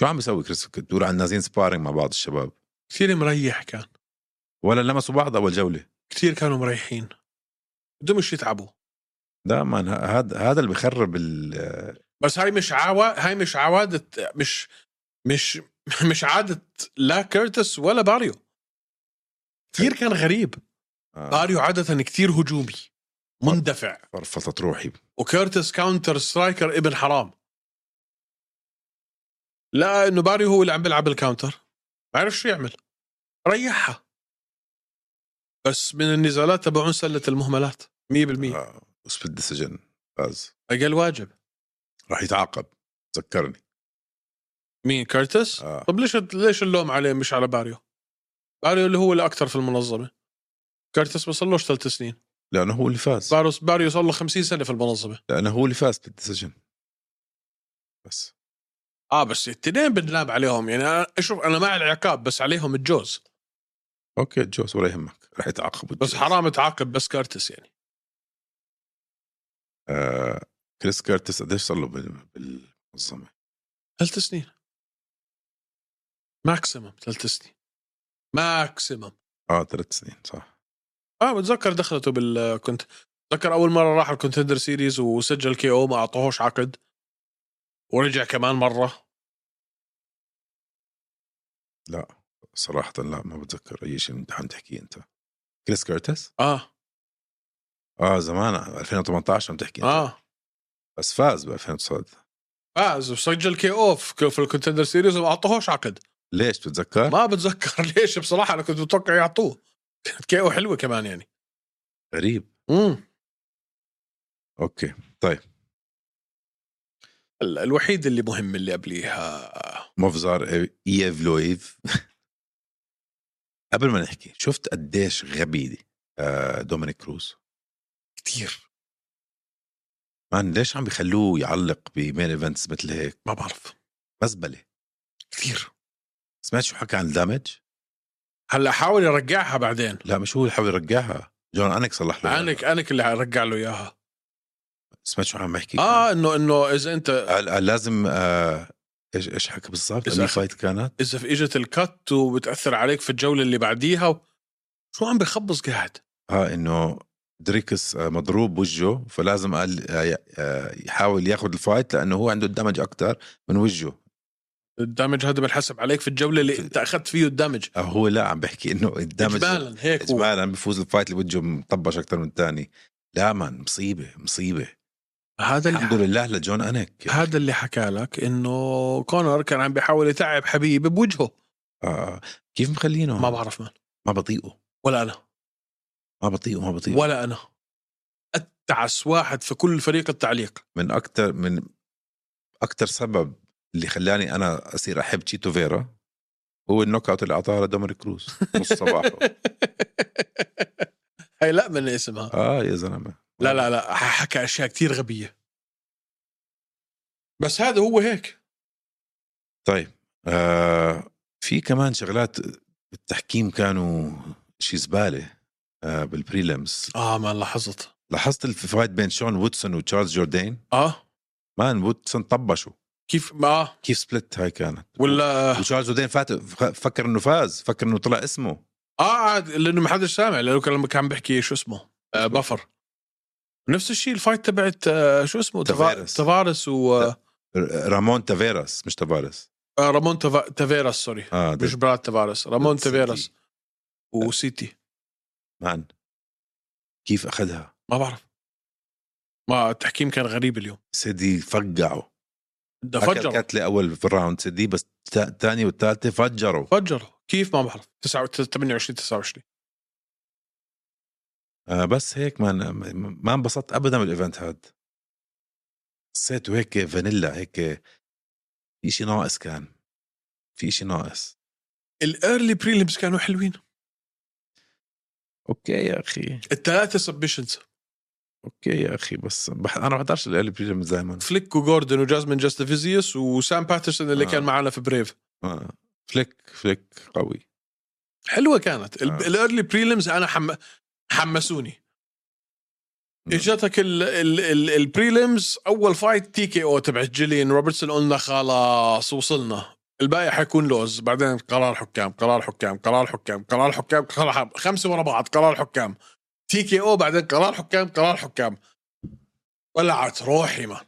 B: شو عم بيسوي كريس كنت بتقول عن نازلين سبارينج مع بعض الشباب
A: كثير مريح كان
B: ولا لمسوا بعض اول جوله
A: كثير كانوا مريحين بدهم مش يتعبوا
B: دائما هذا هذا اللي بخرب ال-
A: بس هاي مش عوا هاي مش عوادة مش مش مش عادة لا كيرتس ولا باريو كثير كان غريب
B: آه،
A: باريو عادة كثير هجومي مندفع
B: فرفصت روحي
A: وكيرتس كاونتر سترايكر ابن حرام لا انه باريو هو اللي عم بيلعب الكاونتر ما عرف شو يعمل ريحها بس من النزالات تبعون سله المهملات 100%
B: آه، وسبت ديسيجن فاز
A: اقل واجب
B: راح يتعاقب تذكرني
A: مين كيرتس
B: آه.
A: طب ليش ليش اللوم عليه مش على باريو باريو اللي هو الاكثر في المنظمه كيرتس ما صلوش ثلاث سنين
B: لانه هو اللي فاز
A: باريو باريو صار له 50 سنه في المنظمه
B: لانه هو اللي فاز بالديسيجن بس
A: اه بس الاثنين بنلام عليهم يعني انا اشوف انا مع العقاب بس عليهم الجوز
B: اوكي جوز ولا يهمك راح يتعاقب
A: بس حرام تعاقب بس كارتس يعني
B: آه كريس كيرتس قديش صار له بال- بالمنظمه؟
A: ثلاث سنين ماكسيمم ثلاث سنين ماكسيمم
B: اه ثلاث سنين صح
A: اه بتذكر دخلته بال كنت بتذكر اول مره راح الكونتندر سيريز وسجل كي او ما اعطوهوش عقد ورجع كمان مره
B: لا صراحة لا ما بتذكر اي شيء انت عم تحكي انت كريس كيرتس؟
A: اه
B: اه زمان 2018 عم تحكي انت آه.
A: اه
B: بس فاز ب 2019
A: فاز وسجل كي او في في الكونتندر سيريز وما اعطوهوش عقد
B: ليش بتتذكر؟
A: ما بتذكر ليش بصراحه انا كنت متوقع يعطوه كانت كي او حلوه كمان يعني
B: غريب
A: امم
B: اوكي
A: ال- الوحيد اللي مهم اللي قبليها
B: مفزار ايف لويف قبل ما نحكي شفت قديش غبي آه، دومينيك كروز
A: كثير
B: مان ليش عم بيخلوه يعلق بمين ايفنتس مثل هيك
A: ما بعرف
B: مزبله
A: كثير
B: سمعت شو حكى عن الدامج
A: هلا حاول يرجعها بعدين
B: لا مش هو اللي حاول يرجعها جون انك صلح له
A: انك انك اللي رجع له اياها
B: سمعت شو عم بحكي
A: اه انه انه اذا انت
B: قال قال لازم آه، ايش ايش حكى بالضبط
A: إذا
B: اي
A: أخ-
B: فايت كانت
A: اذا في اجت الكت وبتاثر عليك في الجوله اللي بعديها و... شو عم بخبص قاعد
B: اه انه دريكس آه، مضروب بوجهه فلازم قال آه، ي- آه، يحاول ياخذ الفايت لانه هو عنده الدمج اكثر من وجهه
A: الدامج هذا بنحسب عليك في الجوله اللي انت اخذت فيه الدامج
B: آه، هو لا عم بحكي انه الدمج
A: اجمالا هيك هو.
B: اجمالا بيفوز الفايت اللي وجهه مطبش اكثر من الثاني لا مان مصيبه مصيبه
A: هذا اللي
B: الحمد
A: حكى.
B: لله لجون انك آه
A: هذا اللي حكى لك انه كونر كان عم بيحاول يتعب حبيبي بوجهه
B: آه. كيف مخلينه
A: ما بعرف من
B: ما بطيئه
A: ولا انا
B: ما بطيئه ما بطيئه
A: ولا انا اتعس واحد في كل فريق التعليق
B: من اكثر من اكثر سبب اللي خلاني انا اصير احب تشيتو فيرا هو النوك اوت اللي اعطاها لدومينيك كروز نص صباحه
A: هي لا من اسمها
B: اه يا زلمه
A: لا لا لا حكى اشياء كثير غبيه بس هذا هو هيك
B: طيب آه في كمان شغلات بالتحكيم كانوا شي زباله آه بالبريلمز
A: اه ما لاحظت
B: لاحظت الفايت بين شون وودسون وتشارلز جوردين
A: اه
B: مان وودسون طبشوا
A: كيف ما آه.
B: كيف سبلت هاي كانت
A: ولا
B: وتشارلز جوردين فات فكر انه فاز فكر انه طلع اسمه
A: اه عاد لانه ما حدش سامع لانه كان لما كان بيحكي شو اسمه آه بفر نفس الشيء الفايت تبعت آه شو اسمه
B: تافيرس.
A: تفارس
B: رامون تافيراس مش تافارس
A: ورامون آه، تافيرس سوري
B: اه ده
A: مش براد تافارس رامون
B: سيتي.
A: تافيرس وسيتي
B: مان كيف اخذها
A: ما بعرف ما التحكيم كان غريب اليوم
B: سيدي فقعه
A: ده
B: اكل
A: فجر
B: كتله اول في الراوند سيدي بس الثاني والثالثه فجروا
A: فجر كيف ما بعرف 29 28 29
B: آه بس هيك ما ما انبسطت ابدا بالايفنت هاد حسيته هيك فانيلا هيك في شيء ناقص كان في شيء ناقص
A: الايرلي بريليمز كانوا حلوين
B: اوكي يا اخي
A: الثلاثه سبشنز
B: اوكي يا اخي بس بح... انا ما بحضرش الاهلي بريلم دائما
A: فليك وجوردن وجازمين جاستافيزيوس وسام باترسون اللي
B: آه.
A: آه. كان معنا في بريف
B: آه. فليك فليك قوي
A: حلوه كانت
B: آه.
A: آه. الايرلي بريليمز انا حم... حمسوني
B: نعم.
A: اجتك البريليمز اول فايت تي كي او تبعت جيلين روبرتسون قلنا خلاص وصلنا الباقي حيكون لوز بعدين قرار حكام قرار حكام قرار حكام قرار حكام قرار حكام خمسه ورا بعض قرار حكام تي كي او بعدين قرار حكام قرار حكام طلعت روحي ما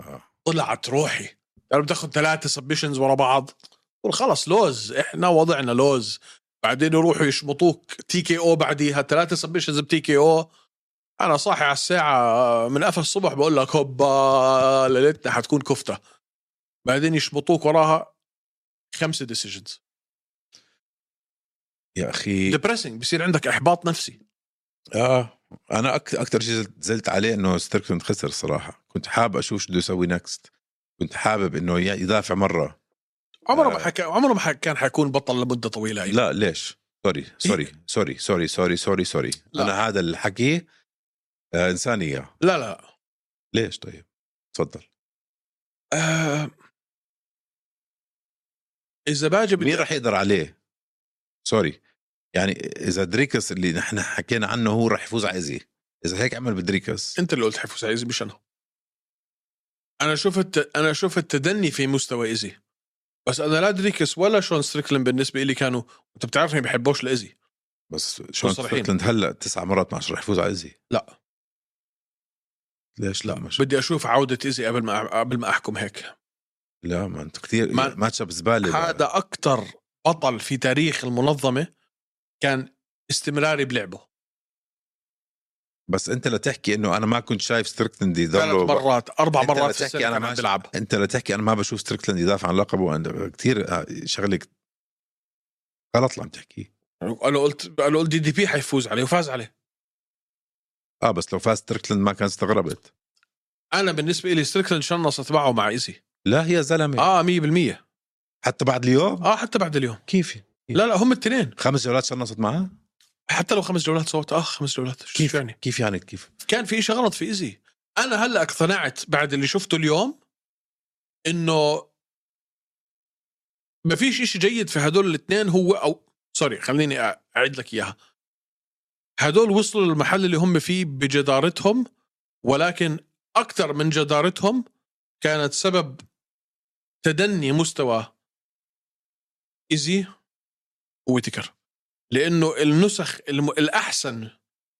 B: آه.
A: طلعت روحي يعني بتاخذ ثلاثه سبشنز ورا بعض قول خلص لوز احنا وضعنا لوز بعدين يروحوا يشمطوك تي كي او بعديها ثلاثه سبشنز بتي كي او انا صاحي على الساعه من قفا الصبح بقول لك هوبا ليلتنا حتكون كفته بعدين يشمطوك وراها خمسه ديسيجنز
B: يا اخي
A: ديبريسنج بصير عندك احباط نفسي
B: اه انا اكثر شيء زلت- زلت عليه انه ستيركسون خسر صراحه كنت حابب اشوف شو بده يسوي نكست كنت حابب انه ي- يدافع مره
A: عمره
B: آه.
A: ما حكى عمره ما حك- كان حيكون بطل لمده طويله يعني.
B: لا ليش سوري سوري سوري سوري سوري سوري سوري
A: إيه. لا.
B: انا هذا الحكي آه انساني إياه.
A: لا لا
B: ليش طيب تفضل
A: آه، اذا باجي بدي-
B: مين راح يقدر عليه سوري يعني اذا دريكس اللي نحن حكينا عنه هو راح يفوز على ايزي اذا هيك عمل بدريكس
A: انت اللي قلت حفوز على ايزي مش انا انا شفت انا شفت تدني في مستوى ايزي بس انا لا دريكس ولا شون ستريكلين بالنسبه لي كانوا انت بتعرفني ما بحبوش لايزي
B: بس شون
A: صريحين.
B: ستريكلاند هلا تسع مرات ما راح يفوز على ايزي
A: لا
B: ليش لا مش
A: بدي اشوف عوده ايزي قبل ما قبل ما احكم هيك
B: لا ما انت كثير
A: ما-
B: ماتش اب زباله
A: هذا اكثر بطل في تاريخ المنظمه كان استمراري بلعبه
B: بس انت لتحكي انه انا ما كنت شايف ستريكلاند يضل
A: ثلاث مرات اربع
B: أنت
A: مرات
B: بتحكي
A: في السنه
B: أنا
A: كان
B: ماشي.
A: عم بيلعب
B: انت لتحكي انا ما بشوف ستريكلاند يدافع عن لقبه كثير شغله غلط اللي عم تحكيه
A: انا قلت انا قلت دي دي بي حيفوز عليه وفاز عليه
B: اه بس لو فاز ستريكلاند ما كان استغربت
A: انا بالنسبه لي ستريكلاند شنصت معه مع ايزي
B: لا يا زلمه
A: اه 100%
B: حتى بعد اليوم
A: اه حتى بعد اليوم
B: كيفي
A: لا لا هم الاثنين
B: خمس جولات شنصت معاه
A: حتى لو خمس جولات صوت اه خمس جولات شو
B: كيف
A: يعني
B: كيف يعني كيف
A: كان في شيء غلط في ايزي انا هلا اقتنعت بعد اللي شفته اليوم انه ما فيش شيء جيد في هدول الاثنين هو او سوري خليني أع- اعيد لك اياها هدول وصلوا للمحل اللي هم فيه بجدارتهم ولكن اكثر من جدارتهم كانت سبب تدني مستوى ايزي وويتكر لانه النسخ الم... الاحسن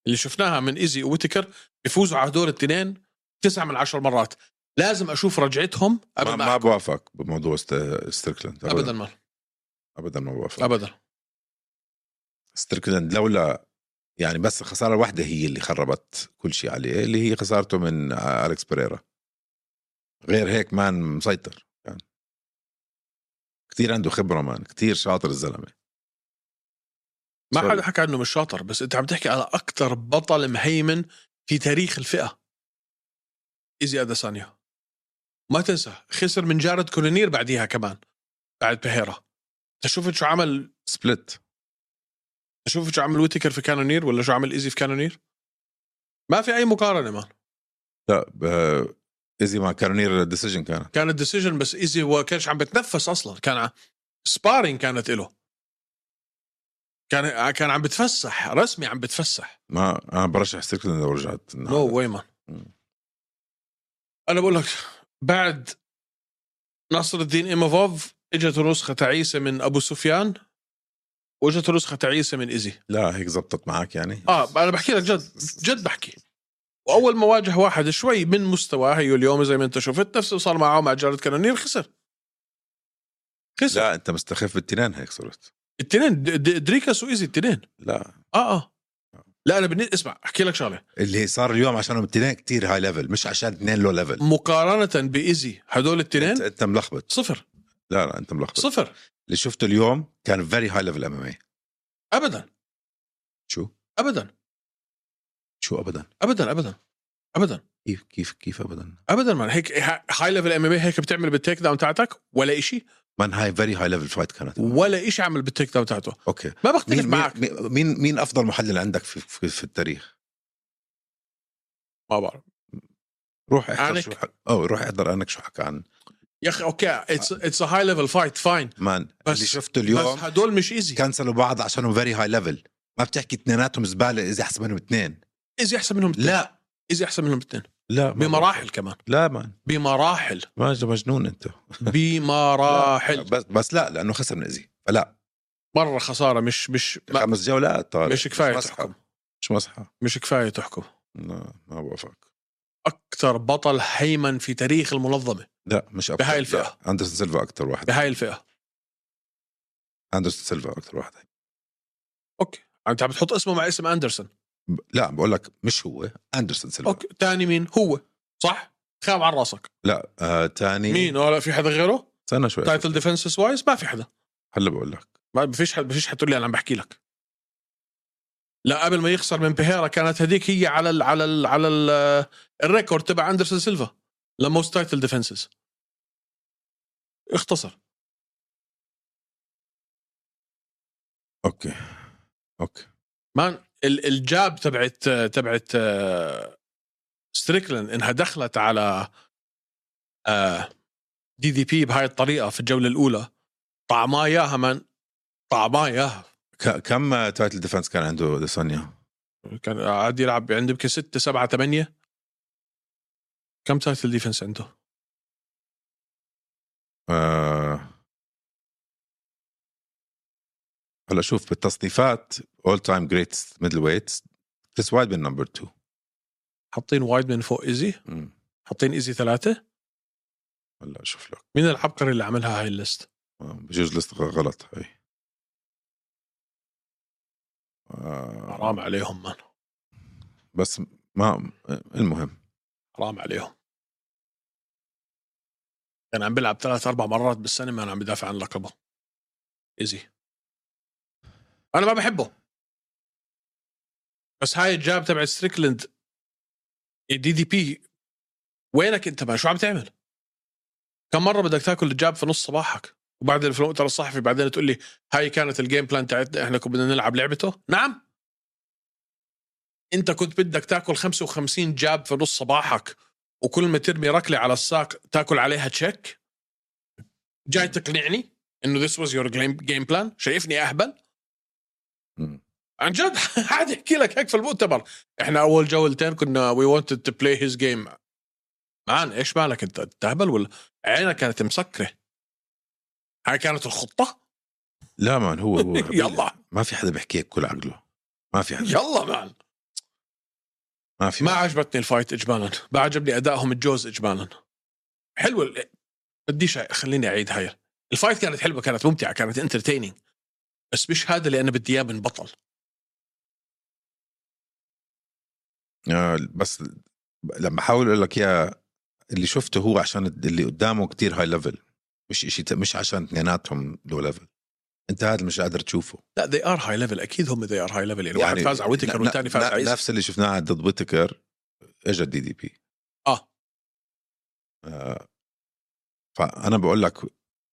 A: اللي شفناها من ايزي وويتكر بيفوزوا على هدول الاثنين تسعة من عشر مرات لازم اشوف رجعتهم
B: ما,
A: قبل ما
B: ما بوافق بموضوع ست- ستريكلاند
A: ابدا
B: ابدا
A: ما
B: ابدا ما بوافق
A: ابدا
B: ستريكلاند لولا يعني بس خساره واحده هي اللي خربت كل شيء عليه اللي هي خسارته من اليكس بريرا غير هيك مان مسيطر يعني كثير عنده خبره مان كثير شاطر الزلمه
A: ما
B: سوري.
A: حدا حكى عنه مش شاطر بس انت عم تحكي على اكثر بطل مهيمن في تاريخ الفئه ايزي اديسانيا ما تنسى خسر من جارد كولينير بعديها كمان بعد بهيرا انت شفت شو عمل
B: سبلت
A: شفت شو عمل ويتكر في كانونير ولا شو عمل ايزي في كانونير ما في اي مقارنه مان
B: لا ب- ايزي مع كارنير ديسيجن كانت
A: كان الديسيجن بس ايزي هو كانش عم بتنفس اصلا كان ع- سبارينج كانت له كان كان عم بتفسح رسمي عم بتفسح
B: ما انا برشح ستريكلاند لو رجعت
A: نو واي مان
B: نعم. مم.
A: انا بقول لك بعد نصر الدين ايموفوف اجت نسخه تعيسه من ابو سفيان واجت نسخه تعيسه من ايزي
B: لا هيك زبطت معك يعني
A: اه انا بحكي لك جد جد بحكي واول ما واجه واحد شوي من مستواه هيو اليوم زي ما انت شفت نفسه صار معه مع جارد كانونير خسر خسر
B: لا انت مستخف بالتنين هيك صرت
A: التنين د- د- دريكس وايزي التنين
B: لا
A: اه اه لا انا بالنسبه اسمع احكي لك شغله
B: اللي صار اليوم عشانهم التنين كتير هاي ليفل مش عشان اثنين لو ليفل
A: مقارنه بايزي هدول
B: انت,
A: التنين
B: انت ملخبط
A: صفر
B: لا لا انت ملخبط
A: صفر
B: اللي شفته اليوم كان فيري هاي ليفل ام ام اي
A: ابدا
B: شو
A: ابدا
B: شو ابدا
A: ابدا ابدا ابدا
B: كيف كيف كيف ابدا
A: ابدا ما هيك هاي ليفل ام ام هيك بتعمل بالتيك داون تاعتك ولا إشي
B: مان هاي فيري هاي ليفل فايت كانت
A: ولا إشي عمل بالتيك داون تاعته
B: اوكي
A: ما بختلف
B: مين
A: معك
B: مين مين, مين افضل محلل عندك في, في, في التاريخ
A: ما بعرف
B: روح احضر
A: أنك.
B: شو حكى او روح احضر انك شو حكى عن
A: يا اخي اوكي اتس اتس هاي ليفل فايت فاين
B: مان
A: بس-
B: اللي شفته
A: بس
B: اليوم
A: هدول مش ايزي
B: كنسلوا بعض عشانهم فيري هاي ليفل ما بتحكي اثنيناتهم زباله اذا حسب منهم اثنين
A: ايزي احسن منهم
B: لا
A: ايزي احسن منهم الاثنين
B: لا ما-
A: بمراحل كمان
B: لا مان
A: بمراحل
B: ما- مجنون انت
A: بمراحل
B: بس بس لا لانه خسر من ايزي فلا
A: مره خساره مش مش ما
B: خمس جولات طارق
A: مش كفايه
B: مش
A: تحكم
B: مسحه مش مسحه
A: مش كفايه تحكم
B: لا ما بوافقك
A: اكثر بطل هيمن في تاريخ المنظمه
B: لا مش أكتر.
A: بهاي الفئة.
B: لا، اندرسون سيلفا اكثر واحد
A: بهاي الفئه
B: اندرسون سيلفا اكثر واحد
A: انت عم بتحط اسمه مع اسم اندرسون
B: ب- لا بقول لك مش هو اندرسون سيلفا
A: اوكي ثاني مين هو صح خاب على راسك
B: لا آه تاني
A: مين طيب. ولا في حدا غيره
B: استنى شوي
A: تايتل ديفنسز وايز ما في حدا
B: هلا بقول لك
A: ما فيش حد فيش حتقول لي انا عم بحكي لك لا قبل ما يخسر من بيهيرا كانت هذيك هي على ال على ال على ال الريكورد تبع اندرسون سيلفا لموست تايتل ديفنسز اختصر
B: اوكي اوكي
A: مان ال- الجاب تبعت تبعت ستريكلين انها دخلت على آه، دي دي بي بهاي الطريقه في الجوله الاولى طعماه اياها من طعماه اياها
B: ك- كم آه، تايتل ديفنس كان عنده ديسانيا؟
A: كان قاعد يلعب عنده يمكن 6 7 8 كم تايتل ديفنس عنده؟
B: آه هلا شوف بالتصنيفات اول تايم جريتست ميدل ويت كريس وايدمان نمبر 2
A: حاطين وايد من فوق ايزي حاطين ايزي ثلاثة
B: هلا شوف لك
A: مين العبقري اللي عملها هاي الليست؟
B: آه، بجوز لست غ- غلط هاي آه
A: حرام عليهم مان
B: بس ما المهم
A: حرام عليهم كان عم بيلعب ثلاث اربع مرات بالسنة ما انا عم بدافع عن لقبه ايزي انا ما بحبه بس هاي الجاب تبع إيه، ستريكلند دي دي بي وينك انت ما شو عم تعمل؟ كم مرة بدك تاكل الجاب في نص صباحك وبعد في المؤتمر الصحفي بعدين تقول لي هاي كانت الجيم بلان تاعتنا احنا كنا بدنا نلعب لعبته؟ نعم انت كنت بدك تاكل 55 جاب في نص صباحك وكل ما ترمي ركله على الساق تاكل عليها تشيك؟ جاي تقنعني انه ذس واز يور جيم بلان؟ شايفني اهبل؟
B: مم.
A: عن جد قاعد احكي لك هيك في المؤتمر احنا اول جولتين كنا وي wanted تو بلاي هيز جيم مان ايش مالك انت تهبل ولا عينك كانت مسكره هاي كانت الخطه
B: لا مان هو هو
A: يلا
B: ما في حدا بيحكي هيك كل عقله ما في حدا
A: يلا مان
B: ما في
A: ما عجبتني الفايت اجمالا ما عجبني ادائهم الجوز اجمالا حلوه ال- بديش أ- خليني اعيد هاي الفايت كانت حلوه كانت ممتعه كانت انترتيننج بس مش هذا اللي انا بدي اياه من بطل
B: آه، بس لما احاول اقول لك يا اللي شفته هو عشان اللي قدامه كتير هاي ليفل مش شيء مش عشان اثنيناتهم لو ليفل انت هذا مش قادر تشوفه
A: لا they are high level اكيد هم they are high level يعني, يعني واحد فاز على ويتكر
B: ن-
A: والثاني فاز
B: ن-
A: على عيسى.
B: نفس اللي شفناها ضد ويتكر اجى الدي دي بي
A: اه
B: آه، فانا بقول لك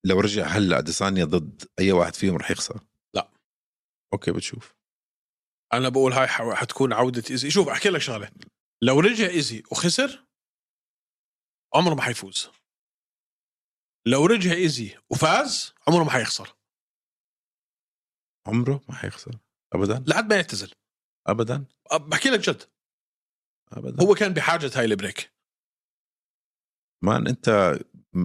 B: لو رجع هلا ديسانيا ضد اي واحد فيهم رح يخسر
A: لا.
B: اوكي بتشوف
A: انا بقول هاي ح- حتكون عوده ايزي شوف احكي لك شغله لو رجع ايزي وخسر عمره ما حيفوز لو رجع ايزي وفاز عمره ما حيخسر
B: عمره ما حيخسر ابدا
A: لحد ما يعتزل
B: ابدا
A: أب- بحكي لك جد
B: ابدا
A: هو كان بحاجه هاي البريك
B: مان انت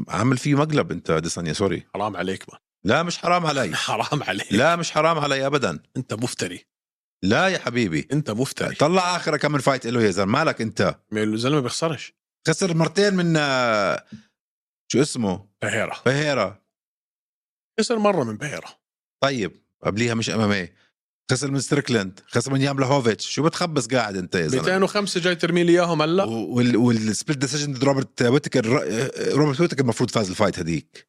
B: عامل فيه مقلب انت ديسانيا سوري
A: حرام عليك ما
B: لا مش حرام علي
A: حرام عليك
B: طيب. لا مش حرام علي ابدا
A: انت مفتري
B: لا يا حبيبي
A: انت مفتري
B: طلع اخر كم من فايت له يا زلمه مالك انت
A: الزلمه بيخسرش
B: خسر مرتين من آه، شو اسمه
A: بهيرة
B: طيب. فهيرة
A: خسر مره من بهيرة
B: طيب قبليها مش امامي خسر من ستريكلند خسر من يام لهوفيتش شو بتخبص قاعد انت يا زلمه
A: 205 جاي ترمي لي اياهم هلا
B: و- وال والسبليت ديسيجن ضد روبرت ويتكر روبرت ويتكر المفروض فاز الفايت هذيك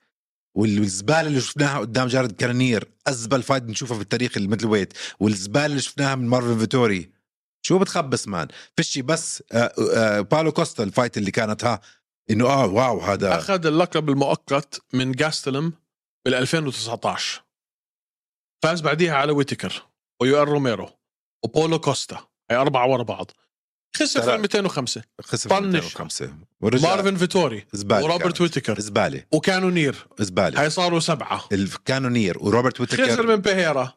B: وال- والزباله اللي شفناها قدام جارد كرنير ازبل فايت بنشوفها بالتاريخ الميدل ويت والزباله اللي شفناها من مارفن فيتوري شو بتخبص مان فيش بس آه، آه، بالو كوستا الفايت اللي كانت ها انه اه واو هذا
A: اخذ اللقب المؤقت من جاستلم بال 2019 فاز بعديها على ويتكر ويو ار روميرو وبولو كوستا هي اربعه ورا بعض خسر في
B: ترى-
A: ال 205
B: خسر
A: طنش.
B: 2005 ورجع
A: مارفن فيتوري
B: زباله
A: وروبرت
B: كانت.
A: ويتكر
B: زباله
A: وكانونير
B: زباله
A: هي صاروا سبعه
B: الكانونير وروبرت ويتكر
A: خسر من بيهيرا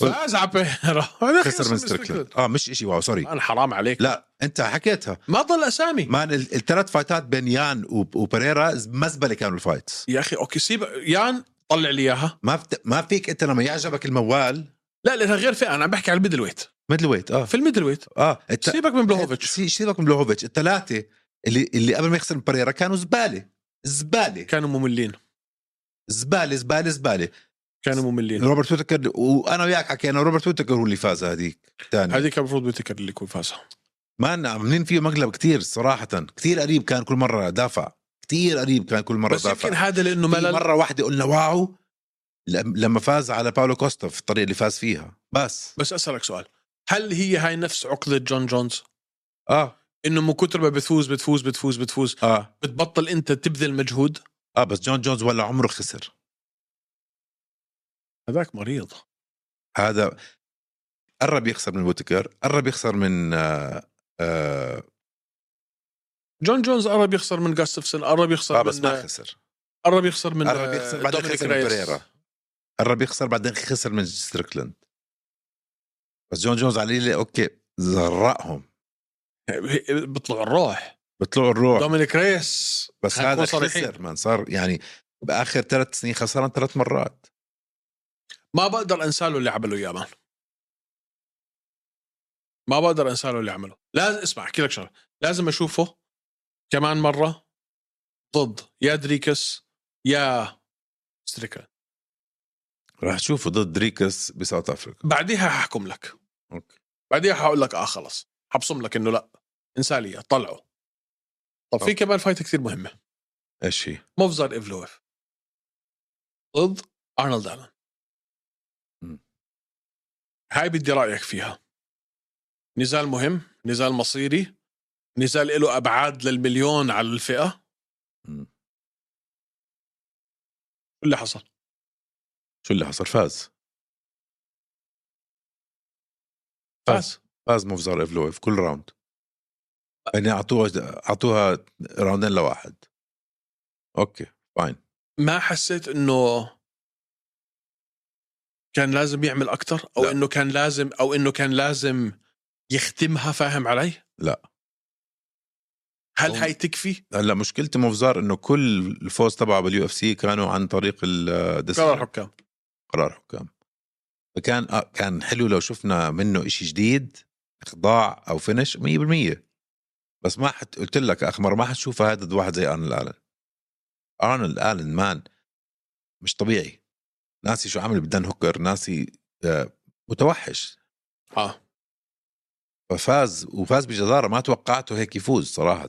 A: فاز على بيريرا هذا
B: خسر من ستريكلاند اه مش شيء واو سوري
A: انا حرام عليك
B: لا انت حكيتها
A: ما ضل اسامي
B: مان ال- الثلاث فايتات بين يان وب- وبريرا مزبله كانوا الفايتس
A: يا اخي اوكي سيب يان طلع لي اياها
B: ما بت... ما فيك انت لما يعجبك الموال
A: لا لانها غير فئه انا عم بحكي على الميدل ويت
B: ميدل ويت اه
A: في الميدل ويت
B: اه الت...
A: سيبك من بلوهوفيتش
B: سي- سيبك من بلوهوفيتش الثلاثه اللي اللي قبل ما يخسر من بريرا كانوا زباله زباله
A: كانوا مملين
B: زباله زباله زباله
A: كانوا مملين
B: روبرت ويتكر وانا وياك حكينا روبرت ويتكر هو اللي فاز هذيك ثاني
A: هذيك المفروض بيتكر اللي يكون فازها
B: مان عاملين فيه مقلب كتير صراحه كتير قريب كان كل مره دافع كتير قريب كان كل مره
A: بس
B: دافع
A: يمكن هذا لانه
B: في
A: ملل
B: مره واحده قلنا واو لم- لما فاز على باولو كوستا في الطريقه اللي فاز فيها بس
A: بس اسالك سؤال هل هي هاي نفس عقده جون جونز
B: اه
A: انه من كتر ما بتفوز بتفوز بتفوز بتفوز
B: اه
A: بتبطل انت تبذل مجهود
B: اه بس جون جونز ولا عمره خسر
A: هذاك مريض
B: هذا قرب يخسر من ويتكر قرب يخسر من آه آه,
A: جون جونز قرب يخسر من جاستفسن قرب يخسر
B: آه
A: من
B: بس ما خسر
A: قرب يخسر من
B: قرب يخسر بعدين
A: دومينيك
B: خسر من
A: ريس.
B: بريرا. قرب يخسر بعدين خسر من ستريكلاند بس جون جونز على الليلة اوكي زرقهم
A: بيطلع الروح
B: بطلعوا الروح
A: دومينيك ريس
B: بس
A: هنكون
B: هذا
A: صريحين.
B: خسر من صار يعني باخر ثلاث سنين خسران ثلاث مرات
A: ما بقدر انسى له اللي عمله يا مان ما بقدر انسى له اللي عمله لازم اسمع احكي لك شغله لازم اشوفه كمان مره ضد يا دريكس يا ستريكا
B: راح تشوفه ضد دريكس بساوث افريقيا
A: بعديها ححكم لك
B: اوكي
A: بعديها حقول لك اه خلص حبصم لك انه لا انسى لي إياه، طلعه طب في
B: أوكي.
A: كمان فايت كثير مهمه
B: ايش هي؟
A: مفزر ايفلويف ضد ارنولد الن
B: مم.
A: هاي بدي رايك فيها نزال مهم نزال مصيري نزال له ابعاد للمليون على الفئه شو
B: مم.
A: اللي حصل
B: شو اللي حصل فاز
A: فاز
B: فاز مفزر ايفلويف كل راوند يعني اعطوها اعطوها راوندين لواحد اوكي فاين
A: ما حسيت انه كان لازم يعمل اكثر او
B: لا.
A: انه كان لازم او انه كان لازم يختمها فاهم علي
B: لا.
A: هل
B: هو-
A: هاي تكفي
B: هلا مشكلته مفزار انه كل الفوز تبعه باليو اف سي كانوا عن طريق ال آه،
A: قرار الحكام
B: قرار حكام فكان آه كان حلو لو شفنا منه إشي جديد اخضاع او فينش 100% بس ما حت قلت لك اخر مره ما حتشوفها هذا واحد زي ارنولد الن ارنولد الن مان مش طبيعي ناسي شو عمل بدان هوكر ناسي آه متوحش
A: اه
B: ففاز وفاز بجداره ما توقعته هيك يفوز صراحه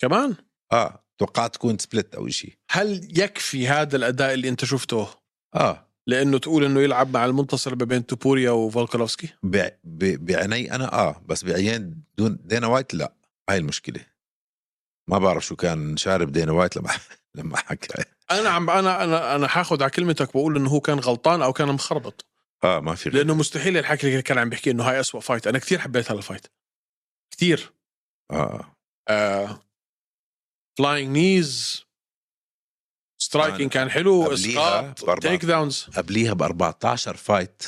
A: كمان
B: اه توقعت تكون سبلت او شيء
A: هل يكفي هذا الاداء اللي انت شفته
B: اه
A: لانه تقول انه يلعب مع المنتصر ما بين توبوريا وفولكانوفسكي
B: بع- ب- بعيني انا اه بس بعيين دون دينا وايت لا هاي المشكله ما بعرف شو كان شارب دينا وايت لما لما حكى
A: انا عم انا انا انا حاخذ على كلمتك بقول انه هو كان غلطان او كان مخربط
B: اه ما في غير.
A: لانه مستحيل الحكي اللي كان عم بيحكي انه هاي أسوأ فايت انا كثير حبيت هذا الفايت كثير آه،
B: اه
A: فلاينج نيز سترايكينج كان حلو
B: قبليها
A: اسقاط
B: بأربعة.
A: تيك داونز
B: قبليها ب 14 فايت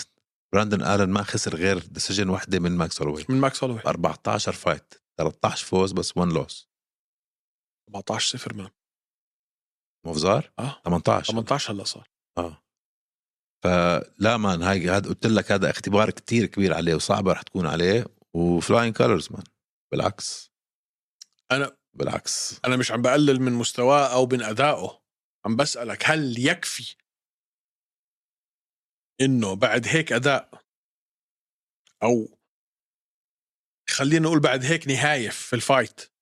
B: براندون الن ما خسر غير ديسيجن واحده من ماكس هولوي
A: من ماكس هولوي
B: 14 فايت 13 فوز بس 1 لوس
A: 14 0 مان
B: مفزار
A: اه
B: 18
A: 18 هلا صار
B: اه فلا مان هاي هذا قلت لك هذا اختبار كتير كبير عليه وصعبه رح تكون عليه وفلاين كولرز مان بالعكس
A: أنا-
B: بالعكس
A: انا مش عم بقلل من مستواه او من ادائه عم بسالك هل يكفي انه بعد هيك اداء او خلينا نقول بعد هيك نهايف في الفايت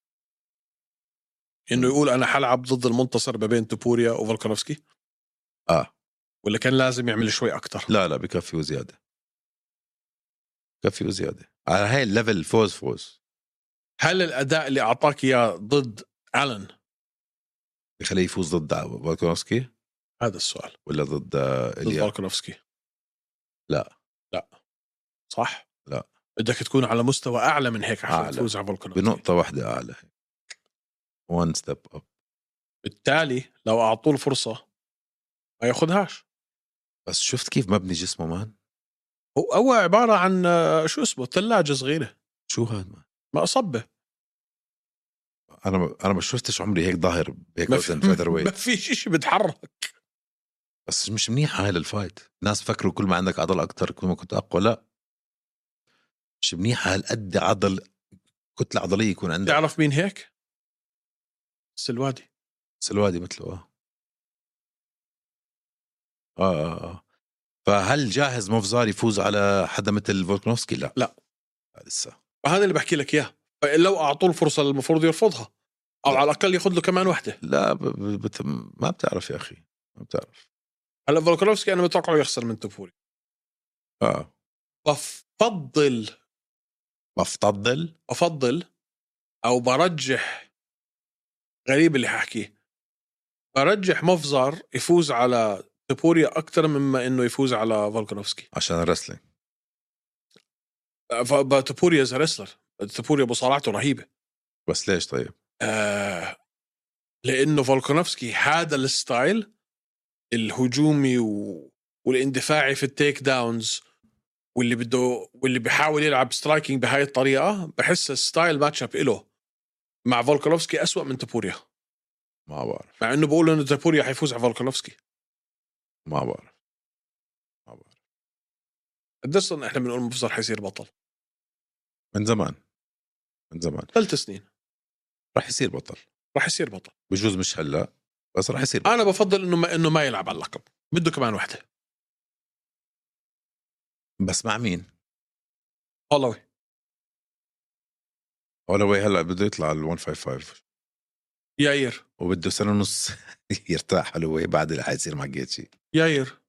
A: انه يقول انا حلعب ضد المنتصر ما بين توبوريا وفولكانوفسكي
B: آه.
A: ولا كان لازم يعمل شوي اكثر
B: لا لا بكفي وزياده بكفي وزياده على هاي الليفل فوز فوز
A: هل الاداء اللي اعطاك اياه ضد الن
B: بخليه يفوز ضد فولكانوفسكي
A: هذا السؤال
B: ولا ضد
A: ضد
B: اليا
A: فولكانوفسكي
B: لا.
A: لا صح
B: لا.
A: بدك تكون على مستوى اعلى من هيك عشان
B: أعلى.
A: تفوز على فولكانوفسكي
B: بنقطه واحده اعلى وان ستيب اب
A: بالتالي لو اعطوه الفرصه ما ياخذهاش
B: بس شفت كيف مبني جسمه مان
A: هو عباره عن آه، شو اسمه ثلاجه صغيره
B: شو هذا
A: مقصبه
B: انا ما- انا ما شفتش عمري هيك ظاهر هيك
A: ما في
B: وزن فيذر
A: ما
B: ويت
A: في شيء بيتحرك
B: بس مش منيحه هاي للفايت الناس فكروا كل ما عندك عضل اكثر كل ما كنت اقوى لا مش منيحه هالقد عضل كتله عضليه يكون عندك
A: تعرف مين هيك؟ السلوادي
B: سلوادي مثله اه اه اه اه فهل جاهز موفزار يفوز على حدا مثل فولكنوفسكي؟ لا
A: لا.
B: لسه
A: هذا اللي بحكي لك اياه لو اعطوه الفرصه اللي المفروض يرفضها او على الاقل ياخذ له كمان وحده
B: لا ب... ب... بت... ما بتعرف يا اخي ما بتعرف
A: هلا فولكانوفسكي انا متوقعه يخسر من توفوري
B: اه
A: بفضل
B: بفتضل
A: افضل او برجح غريب اللي حاحكيه برجح مفزر يفوز على تبوريا اكثر مما انه يفوز على فولكانوفسكي
B: عشان الرسلينج
A: ف- ب- تبوريا از ريسلر تبوريا مصارعته رهيبه
B: بس ليش طيب؟
A: آه لانه فولكانوفسكي هذا الستايل الهجومي و... والاندفاعي في التيك داونز واللي بده واللي بيحاول يلعب سترايكنج بهاي الطريقه بحس الستايل ماتش اب اله مع فولكانوفسكي أسوأ من تبوريا
B: ما بعرف
A: مع انه بقول انه تابوريا حيفوز على فولكانوفسكي
B: ما بعرف ما بعرف
A: قديش صرنا احنا بنقول مفزر حيصير بطل
B: من زمان من زمان
A: ثلاث سنين
B: راح يصير بطل
A: راح يصير بطل
B: بجوز مش هلا بس راح يصير بطل.
A: انا بفضل انه ما انه ما يلعب على اللقب بده كمان وحده
B: بس مع مين؟
A: هولوي
B: هولوي هلا بده يطلع على ال 155
A: ياير
B: وبده سنه ونص يرتاح هولوي بعد اللي حيصير مع جيتشي
A: ياير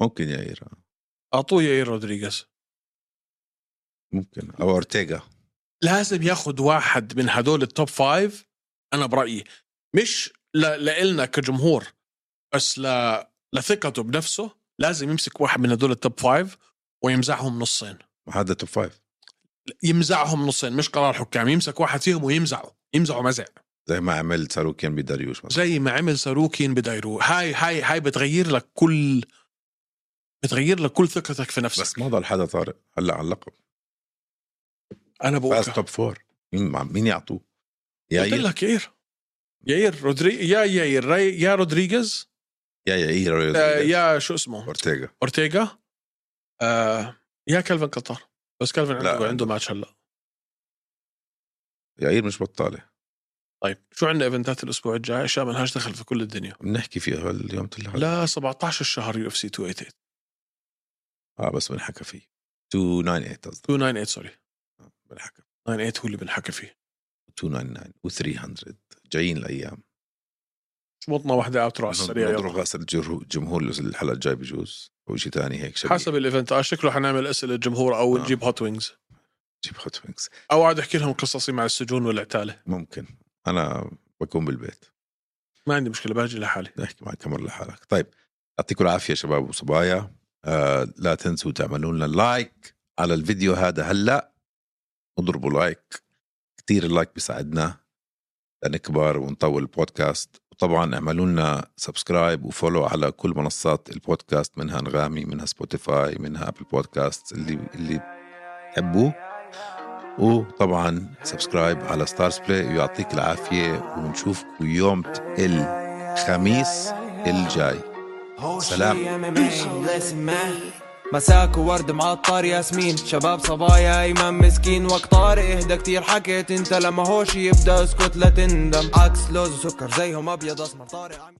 B: ممكن ياير آه.
A: اعطوه ياير رودريغيز
B: ممكن او اورتيغا
A: لازم ياخذ واحد من هدول التوب فايف انا برايي مش ل... لإلنا كجمهور بس ل... لثقته بنفسه لازم يمسك واحد من هدول التوب فايف ويمزعهم نصين
B: هذا توب فايف
A: يمزعهم نصين مش قرار حكام يمسك واحد فيهم ويمزعه يمزعه مزع
B: زي ما عمل ساروكيان بداريوش مثلا
A: زي ما عمل ساروكين بدايرو هاي هاي هاي بتغير لك كل بتغير لك كل ثقتك في نفسك
B: بس ما ضل حدا طارق هلا على اللقب
A: انا
B: فاز
A: بقول
B: توب فور مين مع مين يعطوه؟ يا
A: قلت
B: يا
A: لك ياير ياير رودري يا ياير ري- يا رودريغيز
B: يا يا
A: آه،
B: يا
A: يا شو اسمه
B: اورتيغا
A: اورتيغا آه، يا كلفن قطار بس كلفن عنده
B: لا.
A: عنده ماتش هلا
B: يعير مش بطاله
A: طيب شو عندنا ايفنتات الاسبوع الجاي اشياء ملهاش دخل في كل الدنيا
B: بنحكي فيها اليوم تلحق
A: لا 17 الشهر يو اف سي 288
B: اه بس بنحكى فيه 298 قصدي
A: 298 سوري
B: آه، بنحكى
A: 98 هو اللي بنحكى فيه
B: 299 و300 جايين الايام
A: شمطنا واحده اوترو على السريع يلا.
B: نضرب راس الجره- الجمهور الحلقه الجاي بجوز او شيء ثاني هيك شبيه
A: حسب الايفنت آه، شكله حنعمل اسئله الجمهور او
B: آه.
A: نجيب هوت وينجز
B: جيب هوت وينكس
A: او اقعد احكي لهم قصصي مع السجون والعتاله
B: ممكن انا بكون بالبيت
A: ما عندي مشكله باجي لحالي
B: بدي احكي مع الكاميرا لحالك طيب يعطيكم العافيه شباب وصبايا آه لا تنسوا تعملوا لنا لايك على الفيديو هذا هلا اضربوا لايك كثير اللايك بيساعدنا لنكبر ونطول البودكاست وطبعا اعملوا لنا سبسكرايب وفولو على كل منصات البودكاست منها انغامي منها سبوتيفاي منها ابل بودكاست اللي اللي تحبوه وطبعا سبسكرايب على ستارز بلاي ويعطيك العافيه ونشوفكم يوم الخميس الجاي سلام.
C: سلام مساك وورد معطر ياسمين شباب صبايا ايمن مسكين وقت طارق اهدى كتير حكيت انت لما هوش يبدا اسكت لا تندم عكس لوز وسكر زيهم ابيض اسمر طارق عم-